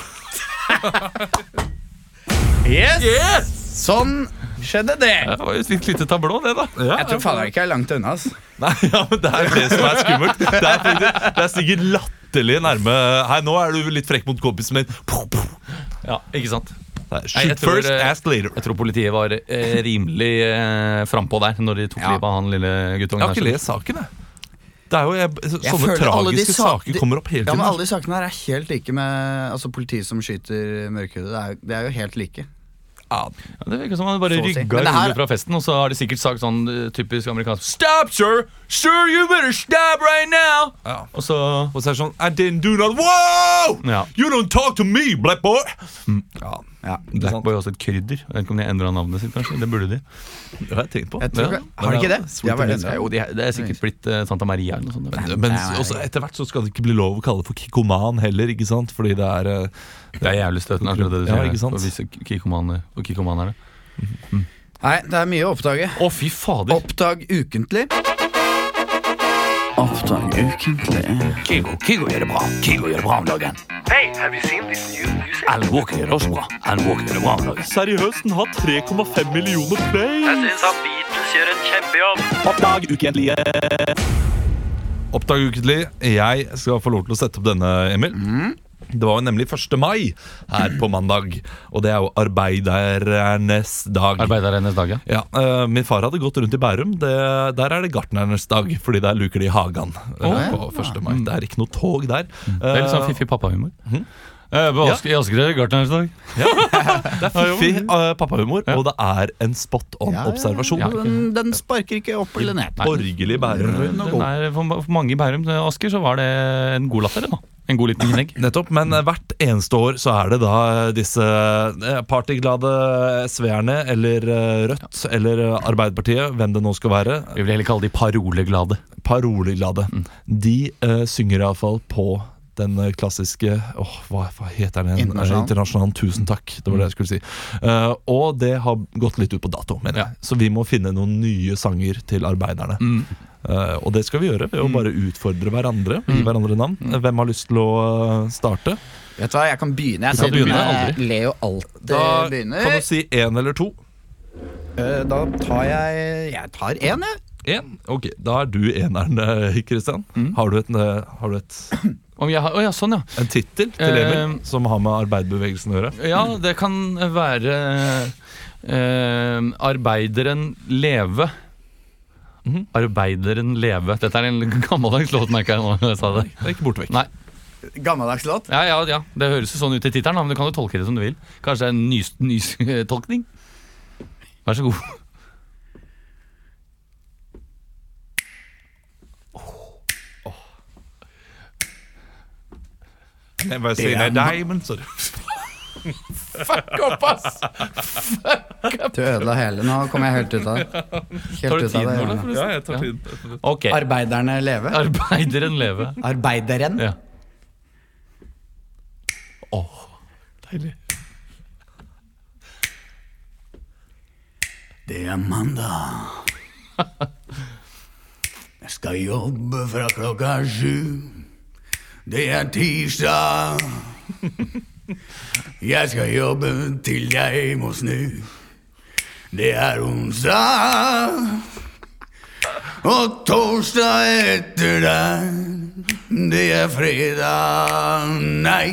Speaker 7: Yes! Sånn skjedde det.
Speaker 2: Det var jo et litt lite tablå, det, da.
Speaker 1: Jeg tror faen ikke jeg er langt unna. ass
Speaker 3: Nei, ja, men Det er det som er skummelt. Det er, faktisk, det er sikkert latterlig nærme Hei, nå er du litt frekk mot kompisen min. Puh, puh.
Speaker 2: Ja, ikke sant?
Speaker 3: Nei,
Speaker 2: Nei,
Speaker 3: Shoot
Speaker 2: jeg tror,
Speaker 3: first,
Speaker 2: eh,
Speaker 3: ask later.
Speaker 2: Jeg tror politiet var eh, rimelig eh, frampå der når de tok livet av han lille guttungen.
Speaker 3: Jeg har ikke
Speaker 2: der,
Speaker 3: lest saken, jeg. Det er jo, jeg, så-
Speaker 1: Jeg
Speaker 3: sånne
Speaker 1: føler alle de
Speaker 3: tragiske
Speaker 1: sa-
Speaker 3: saker
Speaker 1: de-
Speaker 3: kommer opp hele
Speaker 1: Ja,
Speaker 3: tiden.
Speaker 1: men Alle de sakene her er helt like med altså politiet som skyter mørkhudede. Det er, det er jo helt like.
Speaker 2: så- Ja, det virker som han bare
Speaker 1: Så å si.
Speaker 2: rygga
Speaker 1: Men det her-
Speaker 2: rolig fra festen, og så har de sikkert sagt sånn eh, typisk amerikansk Stop, sir! Sir, you better stab right now!
Speaker 3: Ja.
Speaker 2: Og så
Speaker 3: Og så er det sånn I didn't do not Wow!
Speaker 2: Ja.
Speaker 3: You don't talk to me, black boy! Ja,
Speaker 1: Ja.
Speaker 2: Blackboy er også et krydder. Jeg vet ikke om de endra navnet sitt, kanskje. Det burde de.
Speaker 3: Det har jeg tenkt på.
Speaker 1: Jeg tror,
Speaker 2: Ja,
Speaker 1: ikke- har de ikke det?
Speaker 3: sort
Speaker 1: Jeg
Speaker 3: og
Speaker 1: var
Speaker 3: hvit.
Speaker 1: redd.
Speaker 2: Jo, de, det er sikkert blitt eh, Santa Maria eller noe sånt.
Speaker 3: Men
Speaker 1: Nei.
Speaker 3: også etter hvert så skal det ikke bli lov å kalle det for kikoman heller, ikke sant? Fordi det er eh,
Speaker 2: Det er jævlig støtende, akkurat det du
Speaker 3: Ja,
Speaker 2: sier.
Speaker 3: ikke sant?
Speaker 2: For visse kikomaner- for kikomanere.
Speaker 1: Nei, det er mye å oppdage.
Speaker 2: Å, fy fader!
Speaker 1: Oppdag ukentlig. Oppdag ukentlig.
Speaker 8: Kygo, Kygo gjør det bra. Kygo gjør det bra om dagen. Alan Walker gjør det også bra. Alan Walker gjør det bra om dagen.
Speaker 3: Seriøst, den har 3,5 millioner play! Oppdag ukentlig. Jeg skal få lov til å sette opp denne, Emil.
Speaker 1: Mm.
Speaker 3: Det var jo nemlig 1. mai her på mandag, og det er jo arbeidernes dag.
Speaker 2: Arbeidernes dag, ja.
Speaker 3: Ja, eh, Min far hadde gått rundt i Bærum. Det, der er det gartnernes dag, fordi der luker de hagen eh, på 1. mai.
Speaker 1: Mm.
Speaker 3: Det er ikke noe tog der.
Speaker 2: Det er litt sånn
Speaker 3: Eh,
Speaker 2: fiffig pappahumor.
Speaker 1: mhm.
Speaker 2: Eh, på Ask- I Asker er det gartnerens dag.
Speaker 3: Det er fiffig eh, pappahumor, og det er en spot
Speaker 1: Ja, ja, ja.
Speaker 3: on-observasjon.
Speaker 2: Ja,
Speaker 1: Den, den sparker ikke opp eller ned.
Speaker 3: Borgerlig Bærum.
Speaker 1: Den er
Speaker 2: Den
Speaker 1: god.
Speaker 2: er, for, for mange i Bærum og Asker så var det en god latter. da En god liten innegg.
Speaker 3: Nettopp, men eh, hvert eneste år så er det da eh, disse eh, partyglade SV-erne, eller eh, Rødt, eller eh, Arbeiderpartiet, hvem det nå skal være,
Speaker 2: Vi vil heller kalle de paroleglade.
Speaker 3: paroleglade. De eh, synger iallfall på den eh, klassiske åh, hva, hva heter den?
Speaker 1: Internasjonalen.
Speaker 3: Eh, Internasjonalen. Tusen takk, det var det jeg skulle si. Eh, og det har gått litt ut på dato, mener jeg. Så vi må finne noen nye sanger til arbeiderne. Eh, og det skal vi gjøre ved å bare utfordre hverandre. Gi hverandre navn. Eh, Hvem har lyst til å eh, starte?
Speaker 1: Vet du hva, jeg kan begynne. Jeg
Speaker 2: kan
Speaker 1: siden,
Speaker 2: begynne,
Speaker 1: eh,
Speaker 2: aldri.
Speaker 1: Leo alltid
Speaker 3: Da Eh, kan
Speaker 1: begynner.
Speaker 3: du si én eller to.
Speaker 1: Eh, Da tar jeg Jeg tar én, jeg.
Speaker 3: Én. Ok, da er du eneren, eh, Kristian. Har du, et, eh, har du et,
Speaker 2: Om jeg har, å ja, sånn, ja.
Speaker 3: en tittel til Emil
Speaker 2: Eh,
Speaker 3: som har med arbeiderbevegelsen å gjøre?
Speaker 2: Ja, det kan være eh, Arbeideren leve. Mhm. Arbeideren leve. Dette er en gammeldags låt, merker jeg nå. når Jeg sa det.
Speaker 3: Det er ikke borte vekk.
Speaker 2: Nei.
Speaker 1: Gammeldags låt.
Speaker 2: Ja, ja, ja. Det høres jo sånn ut i tittelen, da, men du kan jo tolke det som du vil. Kanskje det er en nystolkning? Vær så god.
Speaker 3: Men never seen a diamond. Så
Speaker 1: Du ødela hele. Nå kom jeg helt ut av det.
Speaker 2: Tar
Speaker 1: Helt
Speaker 2: du
Speaker 1: ut av
Speaker 2: tiden,
Speaker 1: det.
Speaker 2: Ole?
Speaker 1: hjørnet.
Speaker 3: ja, jeg tar tiden.
Speaker 2: Ok.
Speaker 1: Arbeiderne leve?
Speaker 2: Arbeideren leve.
Speaker 1: Arbeideren?
Speaker 2: Ja.
Speaker 3: Deilig.
Speaker 1: Det er mandag. Jeg skal jobbe fra klokka sju. Det er tirsdag. Jeg skal jobbe til jeg må snu. Det er onsdag. Og torsdag etter der, det er fredag. Nei.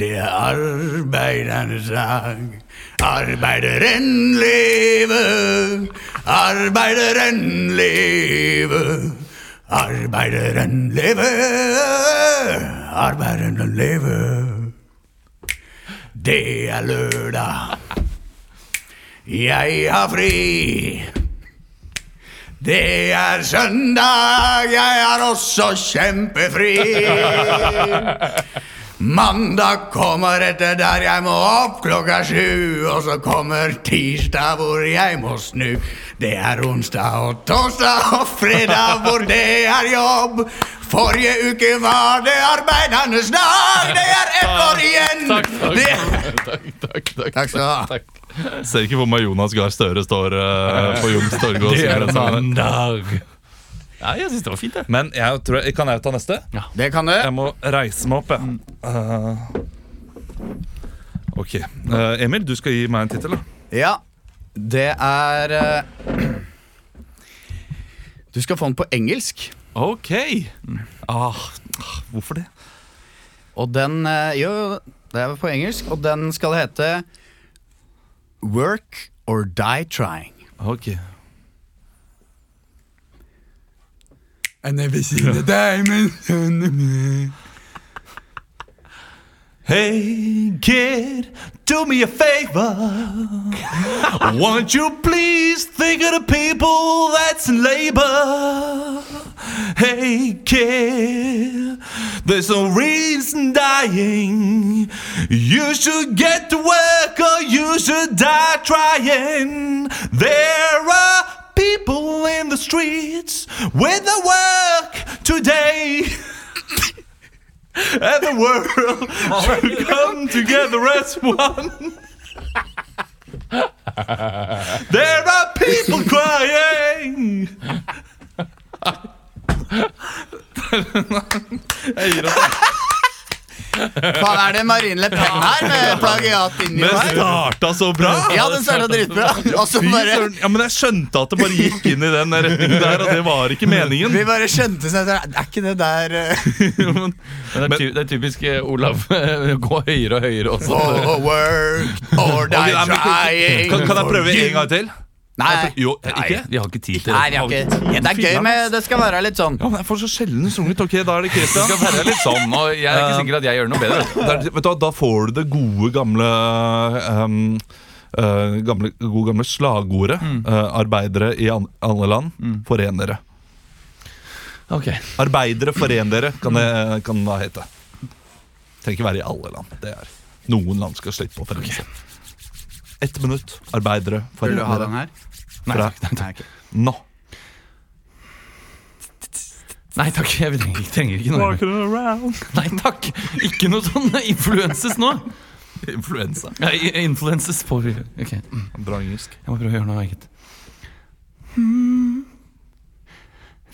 Speaker 1: Det er arbeidernes dag. Arbeideren leve, arbeideren leve. Arbeideren leve, arbeideren leve. Det er lørdag. Jeg har fri. Det er søndag, jeg er også kjempefri. Mandag kommer etter der jeg må opp klokka sju, og så kommer tirsdag hvor jeg må snu. Det er onsdag og torsdag og fredag hvor det er jobb. Forrige uke var det arbeidernes dag, det er ett år igjen!
Speaker 2: Takk, takk,
Speaker 1: Det
Speaker 2: takk, takk, takk,
Speaker 1: Takk skal du ha.
Speaker 2: takk.
Speaker 3: Ser ikke for meg Jonas Gahr Støre står eh, på Jums torg og synger en sang.
Speaker 2: mandag. Ja, jeg syns det var fint, jeg.
Speaker 3: Men jeg tror jeg, kan jeg ta neste?
Speaker 4: Det kan du.
Speaker 3: Jeg må reise meg opp, jeg. Eh, ok. Eh, Emil, du skal gi meg en tittel. da.
Speaker 1: Ja, det er eh, Du skal få den på engelsk.
Speaker 3: Ok. Ah, ah, hvorfor det?
Speaker 1: Og den eh, Jo, det er på engelsk, og den skal hete Work or die trying.
Speaker 3: Ok.
Speaker 1: I never seen a diamond
Speaker 3: Hey kid, do me a favor. Won't you please think of the people that's in labor? Hey kid, there's no reason dying. You should get to work or you should die trying. There are people in the streets with the work today. And the world should come together as one. There are people crying.
Speaker 4: Faen, er det Marine Le Pen her med plagiat inni
Speaker 3: Det
Speaker 4: meg?
Speaker 3: starta så bra.
Speaker 4: Ja, det starta dritbra. Og så
Speaker 3: Fy
Speaker 4: bare
Speaker 3: søren. Ja, men jeg skjønte at det bare gikk inn i den retningen der, og det var ikke meningen.
Speaker 4: Vi bare skjønte seg at det Er ikke det der eh,
Speaker 2: Men det, er ty det er typisk eh, Olav. Gå høyere og høyere også.
Speaker 4: oh, Work or
Speaker 3: Ok,
Speaker 4: die
Speaker 3: nei, men
Speaker 4: trying
Speaker 3: kan, kan jeg
Speaker 4: for
Speaker 3: prøve
Speaker 4: you.
Speaker 3: en gang til?
Speaker 4: Nei.
Speaker 3: Jo, ikke?
Speaker 2: Vi har ikke tid til
Speaker 1: Nei, jeg har ikke ja, Det er gøy, men det skal være litt sånn.
Speaker 3: Ja, men jeg får så sjelden sunget. Ok, da er det
Speaker 2: Det skal
Speaker 3: Christian.
Speaker 2: være litt sånn, og jeg er ikke sikker at jeg gjør noe bedre.
Speaker 3: Der, vet du, hva, da får du det gode, gamle ehm, eh, gamle, gode, gamle slagordet. Eh, arbeidere i an alle land, foren dere.
Speaker 2: Ok
Speaker 3: Arbeidere, foren dere, kan det, kan det hete. Trenger ikke være i alle land. det er Noen land skal slippe å forene seg. Ett minutt. Arbeidere,
Speaker 1: Vil
Speaker 3: foren
Speaker 1: du ha den
Speaker 3: dere.
Speaker 1: her?
Speaker 3: Nei,
Speaker 1: Nei, ok.
Speaker 3: Nå.
Speaker 2: Nei takk, jeg trenger, trenger ikke noe. Nei takk! Ikke noe sånn influenses nå.
Speaker 3: Influensa.
Speaker 2: Ja, i- influenses på Ok, jeg
Speaker 3: Bra engelsk.
Speaker 2: må prøve å gjøre noe eget. Hmm.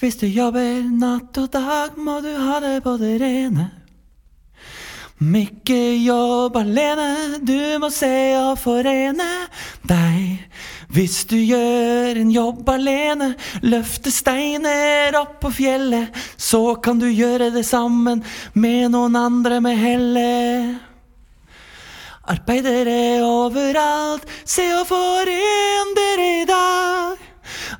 Speaker 2: Hvis du jobber natt og dag, må du ha det på det rene. Om ikke jobb alene, du må se å forene deg. Hvis du gjør en jobb alene, løfte steiner opp på fjellet, så kan du gjøre det sammen med noen andre med hellet. Arbeidere overalt, se og foren dere i dag.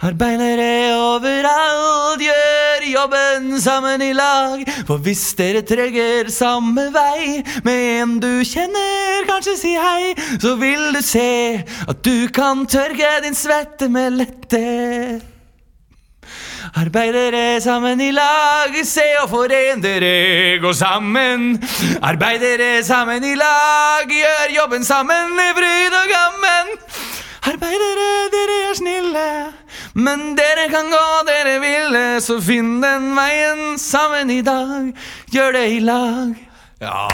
Speaker 2: Arbeidere overalt, gjør jobben sammen i lag. For hvis dere trenger samme vei med en du kjenner, kanskje si hei, så vil du se at du kan tørke din svette med lette.
Speaker 5: Arbeid dere sammen i lag, se og foren dere, gå sammen. Arbeid dere sammen i lag, gjør jobben sammen i bryd og gammen. Arbeid dere, dere er snille, men dere kan gå dere ville, så finn den veien sammen i dag, gjør det i lag. Ja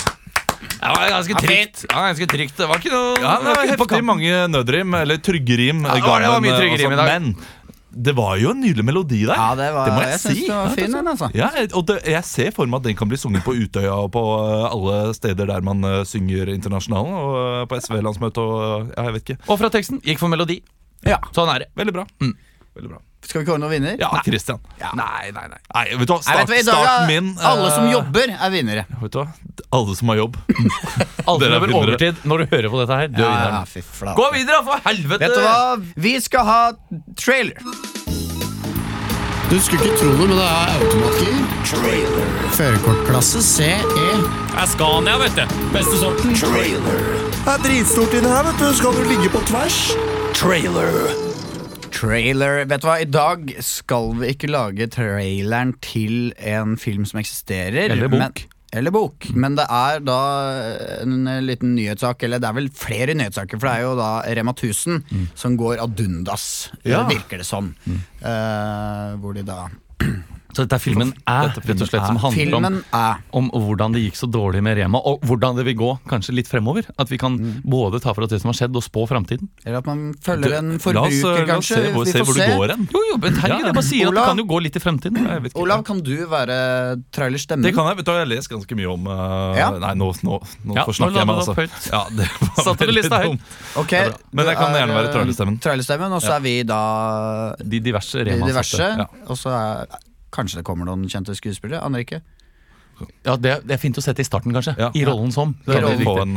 Speaker 5: Det var ganske trygt. Ja, ganske trygt. Det var ikke noe
Speaker 3: Ja, det var heftig mange nødrim, eller tryggerim.
Speaker 5: Ja, det var- det var mye tryggerim i dag.
Speaker 3: Men det var jo en nydelig melodi der.
Speaker 1: Ja, det var-
Speaker 3: må jeg,
Speaker 1: jeg
Speaker 3: si.
Speaker 1: synes det var
Speaker 3: Ja,
Speaker 1: fin, den, altså.
Speaker 3: Ja, og det, jeg ser for meg at den kan bli sunget på Utøya og på eh, alle steder der man eh, synger internasjonalen. Og eh, på SV-landsmøtet og eh, ja, jeg vet ikke.
Speaker 2: Og fra teksten gikk for melodi.
Speaker 1: Ja.
Speaker 2: Sånn er det.
Speaker 3: Veldig bra. Veldig bra.
Speaker 1: Skal vi kåre noen vinner?
Speaker 3: Ja, Christian.
Speaker 2: Nei, nei, nei.
Speaker 3: Nei, vet du hva,
Speaker 1: Nei, vet du hva, i
Speaker 3: start,
Speaker 1: dag
Speaker 3: start
Speaker 1: er
Speaker 3: min.
Speaker 1: Alle som
Speaker 3: eh,
Speaker 1: jobber, er vinnere.
Speaker 3: Vet du hva, alle som har jobb.
Speaker 2: Alle
Speaker 3: Dere er
Speaker 2: som jobber
Speaker 3: vinnere.
Speaker 2: overtid når du hører på dette her, du er
Speaker 1: Ja,
Speaker 2: vinneren.
Speaker 1: fy flate.
Speaker 2: Gå videre, for helvete!
Speaker 1: Vet du hva? Vi skal ha trailer.
Speaker 9: Du skulle ikke tro det, men det er automatgir. Førerkortklasse E. CE.
Speaker 6: Scania, vet du. Beste sorten.
Speaker 9: Det er dritstort inni her, vet du. Skal du ligge på tvers?
Speaker 1: Trailer. Vet du hva, i dag skal vi ikke lage traileren til en film som eksisterer.
Speaker 2: Eller bok.
Speaker 1: Men, eller bok. Men det er da en liten nyhetssak, eller det er vel flere nyhetssaker, for det er jo da Rema 1000 som går ad undas,
Speaker 3: Mm. Ja. Mm.
Speaker 1: virker det som. Eh, hvor de da
Speaker 2: Så dette er filmen er
Speaker 3: Dette filmen
Speaker 2: rett og slett som
Speaker 3: er-
Speaker 2: handler om,
Speaker 1: Filmen er
Speaker 2: om hvordan det gikk så dårlig med Rema, og hvordan det vil gå kanskje litt fremover. At vi kan både ta for oss det som har skjedd, og spå framtiden.
Speaker 1: Eller at man følger en
Speaker 3: la oss,
Speaker 1: forbruker,
Speaker 3: eh, la oss
Speaker 1: kanskje.
Speaker 3: se hvor, se hvor du går hen.
Speaker 2: Jo, jo, men herregud, jeg bare sier at det
Speaker 1: Olav?
Speaker 2: kan jo gå litt i fremtiden. Jeg vet ikke.
Speaker 1: Olav, kan du være trailerstemmen?
Speaker 3: Det kan jeg. vet du, hva, Jeg har lest ganske mye om
Speaker 1: Mm.
Speaker 3: eh,
Speaker 1: Ja.
Speaker 3: Nei, nå, nå, nå
Speaker 2: Ja, nå
Speaker 3: forsnakker
Speaker 2: la
Speaker 3: jeg
Speaker 2: du
Speaker 3: meg,
Speaker 2: det
Speaker 3: altså.
Speaker 2: opp høyt.
Speaker 3: Ja, det var
Speaker 2: Satte du
Speaker 3: veldig
Speaker 2: lista høyt?
Speaker 3: dumt.
Speaker 1: Ok,
Speaker 3: Ja, bra. Men
Speaker 1: du
Speaker 3: jeg kan
Speaker 1: er,
Speaker 3: gjerne være
Speaker 1: eh,
Speaker 3: trailerstemmen.
Speaker 1: Trailerstemmen, Og så er vi da
Speaker 2: De diverse
Speaker 1: de
Speaker 2: Rema-satte.
Speaker 1: diverse.
Speaker 2: Ja.
Speaker 1: Og så er Kanskje det kommer noen kjente skuespillere? Aner ikke.
Speaker 2: Ja, det, det er fint å sette i starten, kanskje.
Speaker 3: Ja.
Speaker 2: I rollen som.
Speaker 3: Da Kan
Speaker 2: Kan
Speaker 3: vi
Speaker 2: vi
Speaker 3: få
Speaker 2: riktig.
Speaker 3: en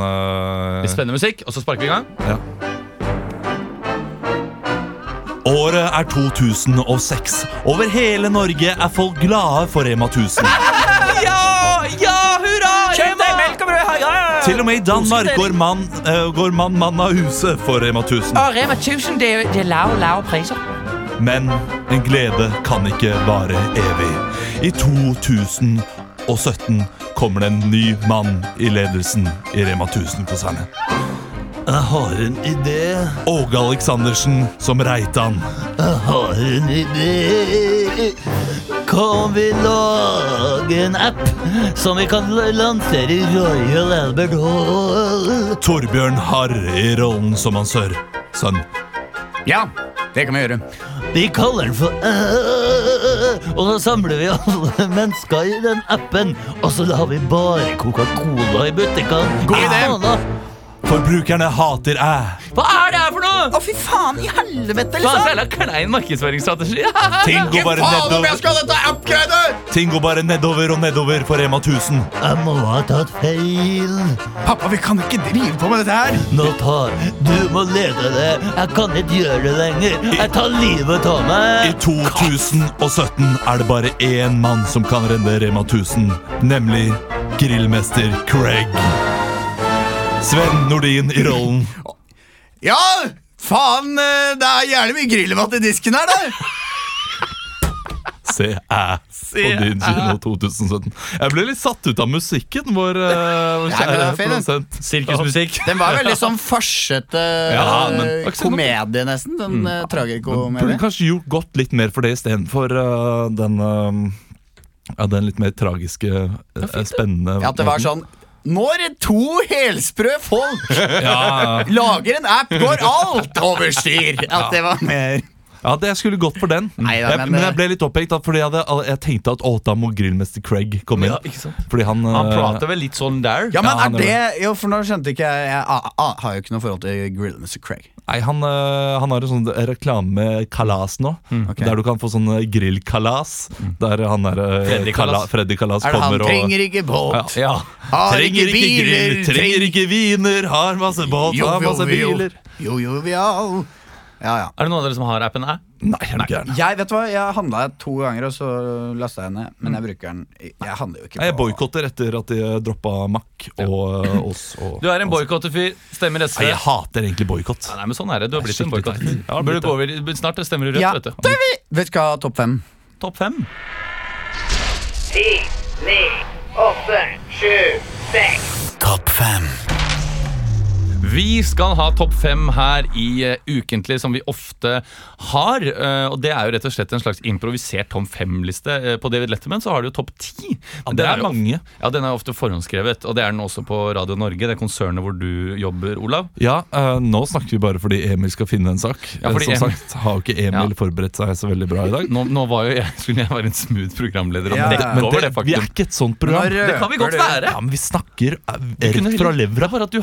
Speaker 2: Litt
Speaker 3: eh,
Speaker 2: Spennende musikk, og så sparker vi i gang.
Speaker 3: Året er 2006. Over hele Norge er folk glade for Rema 1000.
Speaker 5: Kjøp deg melk og brød! Ja, ja,
Speaker 3: Til og med i Danmark går mann eh, går mann mann av huset for Rema 1000.
Speaker 10: Og Rema 1000, det er, det er lave, lave priser.
Speaker 3: Men en glede kan ikke vare evig. I 2017 kommer det en ny mann i ledelsen i Rema 1000-konsernet. Jeg har en idé. Åge Aleksandersen som Reitan. Jeg har en idé. Kan vi lage en app som vi kan lansere i Royal Albert Hall? Torbjørn Harr i rollen som hans sør. Sønn.
Speaker 1: Ja, det kan vi gjøre.
Speaker 11: Vi kaller den for øh, Og så samler vi alle mennesker i den appen, og så lar vi bare Coca-Cola i butikkene. God
Speaker 1: idé.
Speaker 3: Forbrukerne hater æ.
Speaker 2: Hva er det her for noe?!
Speaker 1: Å, fy faen i helvete,
Speaker 2: Faen, så
Speaker 1: liksom!
Speaker 2: jævla klein markedsføringsstrategi!
Speaker 3: Ting går bare
Speaker 1: Faen om jeg
Speaker 3: nedover
Speaker 1: skal ha dette app-greiene!
Speaker 3: Ting går bare nedover og nedover for Rema 1000.
Speaker 11: Jeg må ha tatt feil.
Speaker 1: Pappa, vi kan ikke drive på med dette her!
Speaker 11: Nå tar Du må lede det. Jeg kan ikke gjøre det lenger. Jeg tar livet av
Speaker 3: I
Speaker 11: meg.
Speaker 3: 2017 er det bare én mann som kan redde Rema 1000, nemlig grillmester Craig. Sven Nordin i rollen.
Speaker 1: Ja, faen! eh, Det er jævlig mye grillmat i disken her, da!
Speaker 3: Se æ på din kino 2017. Jeg ble litt satt ut av musikken vår, eh, vår
Speaker 1: men
Speaker 3: kjære
Speaker 1: det er fint,
Speaker 3: produsent.
Speaker 5: Sirkusmusikk.
Speaker 1: Den var veldig sånn farsete
Speaker 3: Ja, men-
Speaker 1: eh, komedie, nesten. Den mm.
Speaker 3: Burde
Speaker 1: tragikomedie.
Speaker 3: kanskje gjort godt litt mer for det istedenfor uh, den eh, ja, den litt mer tragiske, eh, spennende
Speaker 1: Ja, at det var
Speaker 3: måten.
Speaker 1: sånn Når to helsprø folk
Speaker 3: Ja,
Speaker 1: lager en app, går alt over styr! At det var mer
Speaker 3: Ja, det jeg skulle gått for den.
Speaker 1: Neida,
Speaker 3: jeg,
Speaker 1: men-
Speaker 3: men, jeg ble litt opphengt, da, fordi jeg, hadde, jeg tenkte at å, da må grillmester Craig komme inn.
Speaker 2: ikke sant?
Speaker 3: fordi han,
Speaker 5: Han
Speaker 3: eh,
Speaker 5: prater vel litt sånn der.
Speaker 1: Ja, men
Speaker 3: Ja,
Speaker 1: er
Speaker 3: det var
Speaker 1: det Jo, for nå skjønte ikke jeg Jeg a, a, har jo ikke noe forhold til Grillmester Craig.
Speaker 3: nei, han, eh, han har en sånn reklamekalas nå, der du kan få sånn eh, grillkalas. Der han der eh,
Speaker 5: Freddy
Speaker 3: Kala,
Speaker 5: Kalas.
Speaker 3: Freddy Kalas
Speaker 1: Er det han
Speaker 3: kommer og
Speaker 1: trenger ikke båt,
Speaker 3: ja.
Speaker 1: har
Speaker 3: Trenger
Speaker 1: ikke
Speaker 3: ikke grill,
Speaker 1: biler
Speaker 3: trenger ikke viner, har masse båt,
Speaker 1: Jo,
Speaker 3: har
Speaker 1: jo,
Speaker 3: masse
Speaker 1: jo.
Speaker 3: biler.
Speaker 1: Jo, jovial. Ja, ja.
Speaker 2: Er det noen av dere som har appen æ?
Speaker 3: Nei, er du gæren.
Speaker 1: Jeg vet du hva, jeg handla to ganger, og så lasta jeg henne. Men jeg bruker den Jeg handler jo ikke
Speaker 3: Nei, Jeg
Speaker 1: på
Speaker 3: boikotter etter at de droppa Mack og eh, oss. Og,
Speaker 2: Du er en boikottefyr. Stemmer SV.
Speaker 3: Nei, jeg hater egentlig boikott.
Speaker 2: Nei, men sånn er det. Du har blitt en
Speaker 3: Skikkelig
Speaker 2: boikott.
Speaker 3: teit. Ja,
Speaker 2: Burde
Speaker 3: blitt
Speaker 2: gå over i- Snart stemmer du rødt,
Speaker 1: Ja,
Speaker 2: vet du.
Speaker 1: Vet du hva, topp fem?
Speaker 3: topp fem.
Speaker 12: Ti, ni, åtte, sju, seks.
Speaker 2: Topp fem. Vi skal ha Topp fem her i eh, Ukentlig, som vi ofte har. eh, og Det er jo rett og slett en slags improvisert Tom fem-liste. Eh, på David Letterman så har du jo Topp ti. Men
Speaker 3: det
Speaker 2: den
Speaker 3: er
Speaker 2: jo of-
Speaker 3: mange.
Speaker 2: Ja, Den er jo ofte forhåndsskrevet, og det er den også på Radio Norge. Det konsernet hvor du jobber, Olav.
Speaker 3: Ja, eh, nå snakker vi bare fordi Emil skal finne en sak.
Speaker 2: Ja,
Speaker 3: Eh,
Speaker 2: fordi
Speaker 3: Som
Speaker 2: Emil-
Speaker 3: sagt har jo ikke Emil forberedt seg så veldig bra i dag.
Speaker 2: Nå, nå var jo jeg, skulle jeg være en smooth programleder og
Speaker 3: Men det-
Speaker 2: dekke
Speaker 3: men
Speaker 2: over
Speaker 3: det-
Speaker 2: det, faktum.
Speaker 3: Vi er ikke et sånt program.
Speaker 2: Nå
Speaker 1: eh,
Speaker 2: Det kan vi godt røper du. være.
Speaker 3: Ja, men vi snakker eh,
Speaker 2: kunne
Speaker 3: rett fra
Speaker 2: heller-
Speaker 3: levra.
Speaker 2: Bare at du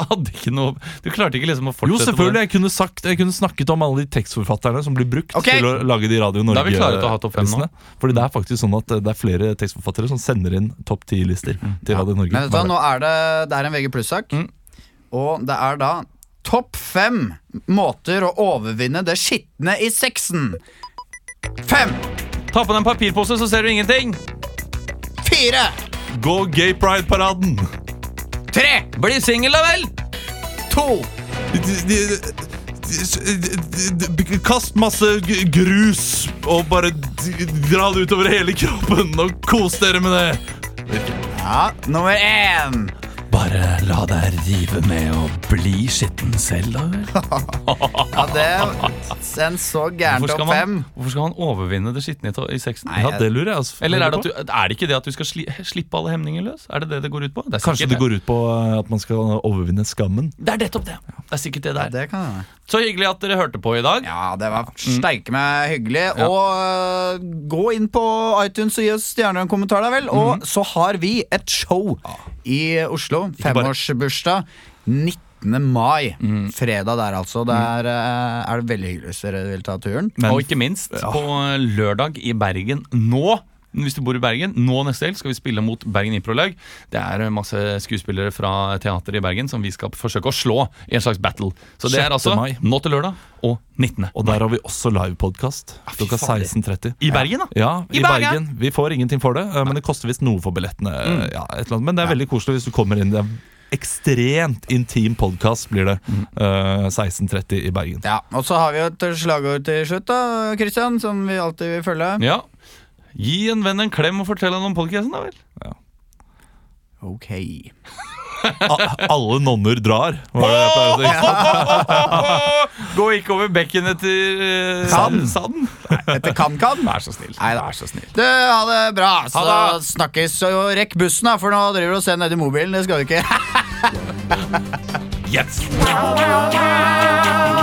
Speaker 2: hadde ikke noe Du klarte ikke liksom å
Speaker 3: Jo,
Speaker 2: fortsette på
Speaker 3: selvfølgelig.
Speaker 2: det.
Speaker 3: Jeg kunne, sagt, jeg kunne snakket om alle de tekstforfatterne som blir brukt
Speaker 2: Ok.
Speaker 3: til å lage de Radio
Speaker 2: Da er vi klare til å ha topp fem nå.
Speaker 3: Norge-listene. Fordi det er faktisk sånn at eh, det er flere tekstforfattere som sender inn topp ti-lister
Speaker 2: Mm.
Speaker 3: til Radio Norge.
Speaker 1: Men vet du, hva, nå er det, det er en VG pluss-sak,
Speaker 2: Mm.
Speaker 1: og det er da topp fem måter å overvinne det skitne i sexen. Fem,
Speaker 2: Ta på deg en papirpose, så ser du ingenting.
Speaker 1: fire,
Speaker 3: Gå gay pride-paraden!
Speaker 1: tre,
Speaker 2: Bli singel, da vel!
Speaker 1: to,
Speaker 3: Kast masse g- grus og bare d- dra det utover hele kroppen og kos dere med det.
Speaker 1: Ja, nummer én.
Speaker 13: Bare la deg rive med og bli skitten selv, da vel?
Speaker 1: Ja, det En så gæren
Speaker 2: Hvorfor skal,
Speaker 1: topp
Speaker 2: man,
Speaker 1: fem.
Speaker 2: hvorfor skal man overvinne det skitne i to- i sexen?
Speaker 1: Nei, Ja, det
Speaker 3: lurer jeg altså.
Speaker 2: Eller er det, at du, er det ikke det at du skal sli, slippe alle hemninger løs? Er det det det går ut på? Det er
Speaker 3: Kanskje
Speaker 2: sikkert
Speaker 3: det går ut på eh, at man skal overvinne skammen.
Speaker 2: Det er nettopp det. Det er sikkert det der.
Speaker 1: Det kan hende.
Speaker 2: Så hyggelig at dere hørte på i dag.
Speaker 1: Ja, det var
Speaker 2: Mm.
Speaker 1: Steike meg hyggelig. Og øh, gå inn på iTunes og gi oss stjerner og en kommentar, da vel. Og
Speaker 2: Mhm.
Speaker 1: så har vi et show i Oslo. Femårsbursdag. 19. mai.
Speaker 2: Mhm.
Speaker 1: Fredag der, altså. Der øh, er det veldig hyggelig hvis dere vil ta turen.
Speaker 2: Og ikke minst, på lørdag i Bergen nå hvis du bor i Bergen, nå neste helg skal vi spille mot Bergen Improlag. Det er masse skuespillere fra teater i Bergen som vi skal forsøke å slå i en slags battle. Så det er
Speaker 3: 6.
Speaker 2: altså
Speaker 3: mai.
Speaker 2: nå til lørdag og 19.
Speaker 3: Og der har vi også livepodkast klokka
Speaker 2: Ah, fader.
Speaker 3: 16.30.
Speaker 2: I Bergen, da?
Speaker 3: Ja,
Speaker 2: I
Speaker 3: i
Speaker 2: Bergen.
Speaker 3: Bergen. Vi får ingenting for det, eh, men det koster visst noe for billettene. eh,
Speaker 2: Mm.
Speaker 3: Ja, et eller annet. Men det er veldig koselig hvis du kommer inn. Det er ekstremt intim podkast blir det.
Speaker 2: Mm.
Speaker 3: eh, 16.30 i Bergen.
Speaker 1: Ja, Og så har vi jo et slagord til slutt, da, Christian, som vi alltid vil følge.
Speaker 2: Ja. Gi en venn en klem og fortell ham om podkasten, da vel.
Speaker 1: Ok.
Speaker 3: A- Alle nonner drar, var det jeg pleier å si.
Speaker 2: Gå ikke over bekken etter eh,
Speaker 3: Sand.
Speaker 2: sand.
Speaker 1: Dette kan-kan.
Speaker 2: Vær så snill.
Speaker 1: Nei da.
Speaker 2: Vær så snill.
Speaker 1: Du, ha det bra. Så
Speaker 2: Ha det.
Speaker 1: snakkes. Og rekk bussen, da, for nå driver du og ser nedi mobilen. Det skal du ikke.
Speaker 2: Yes!
Speaker 12: Wow, wow, wow.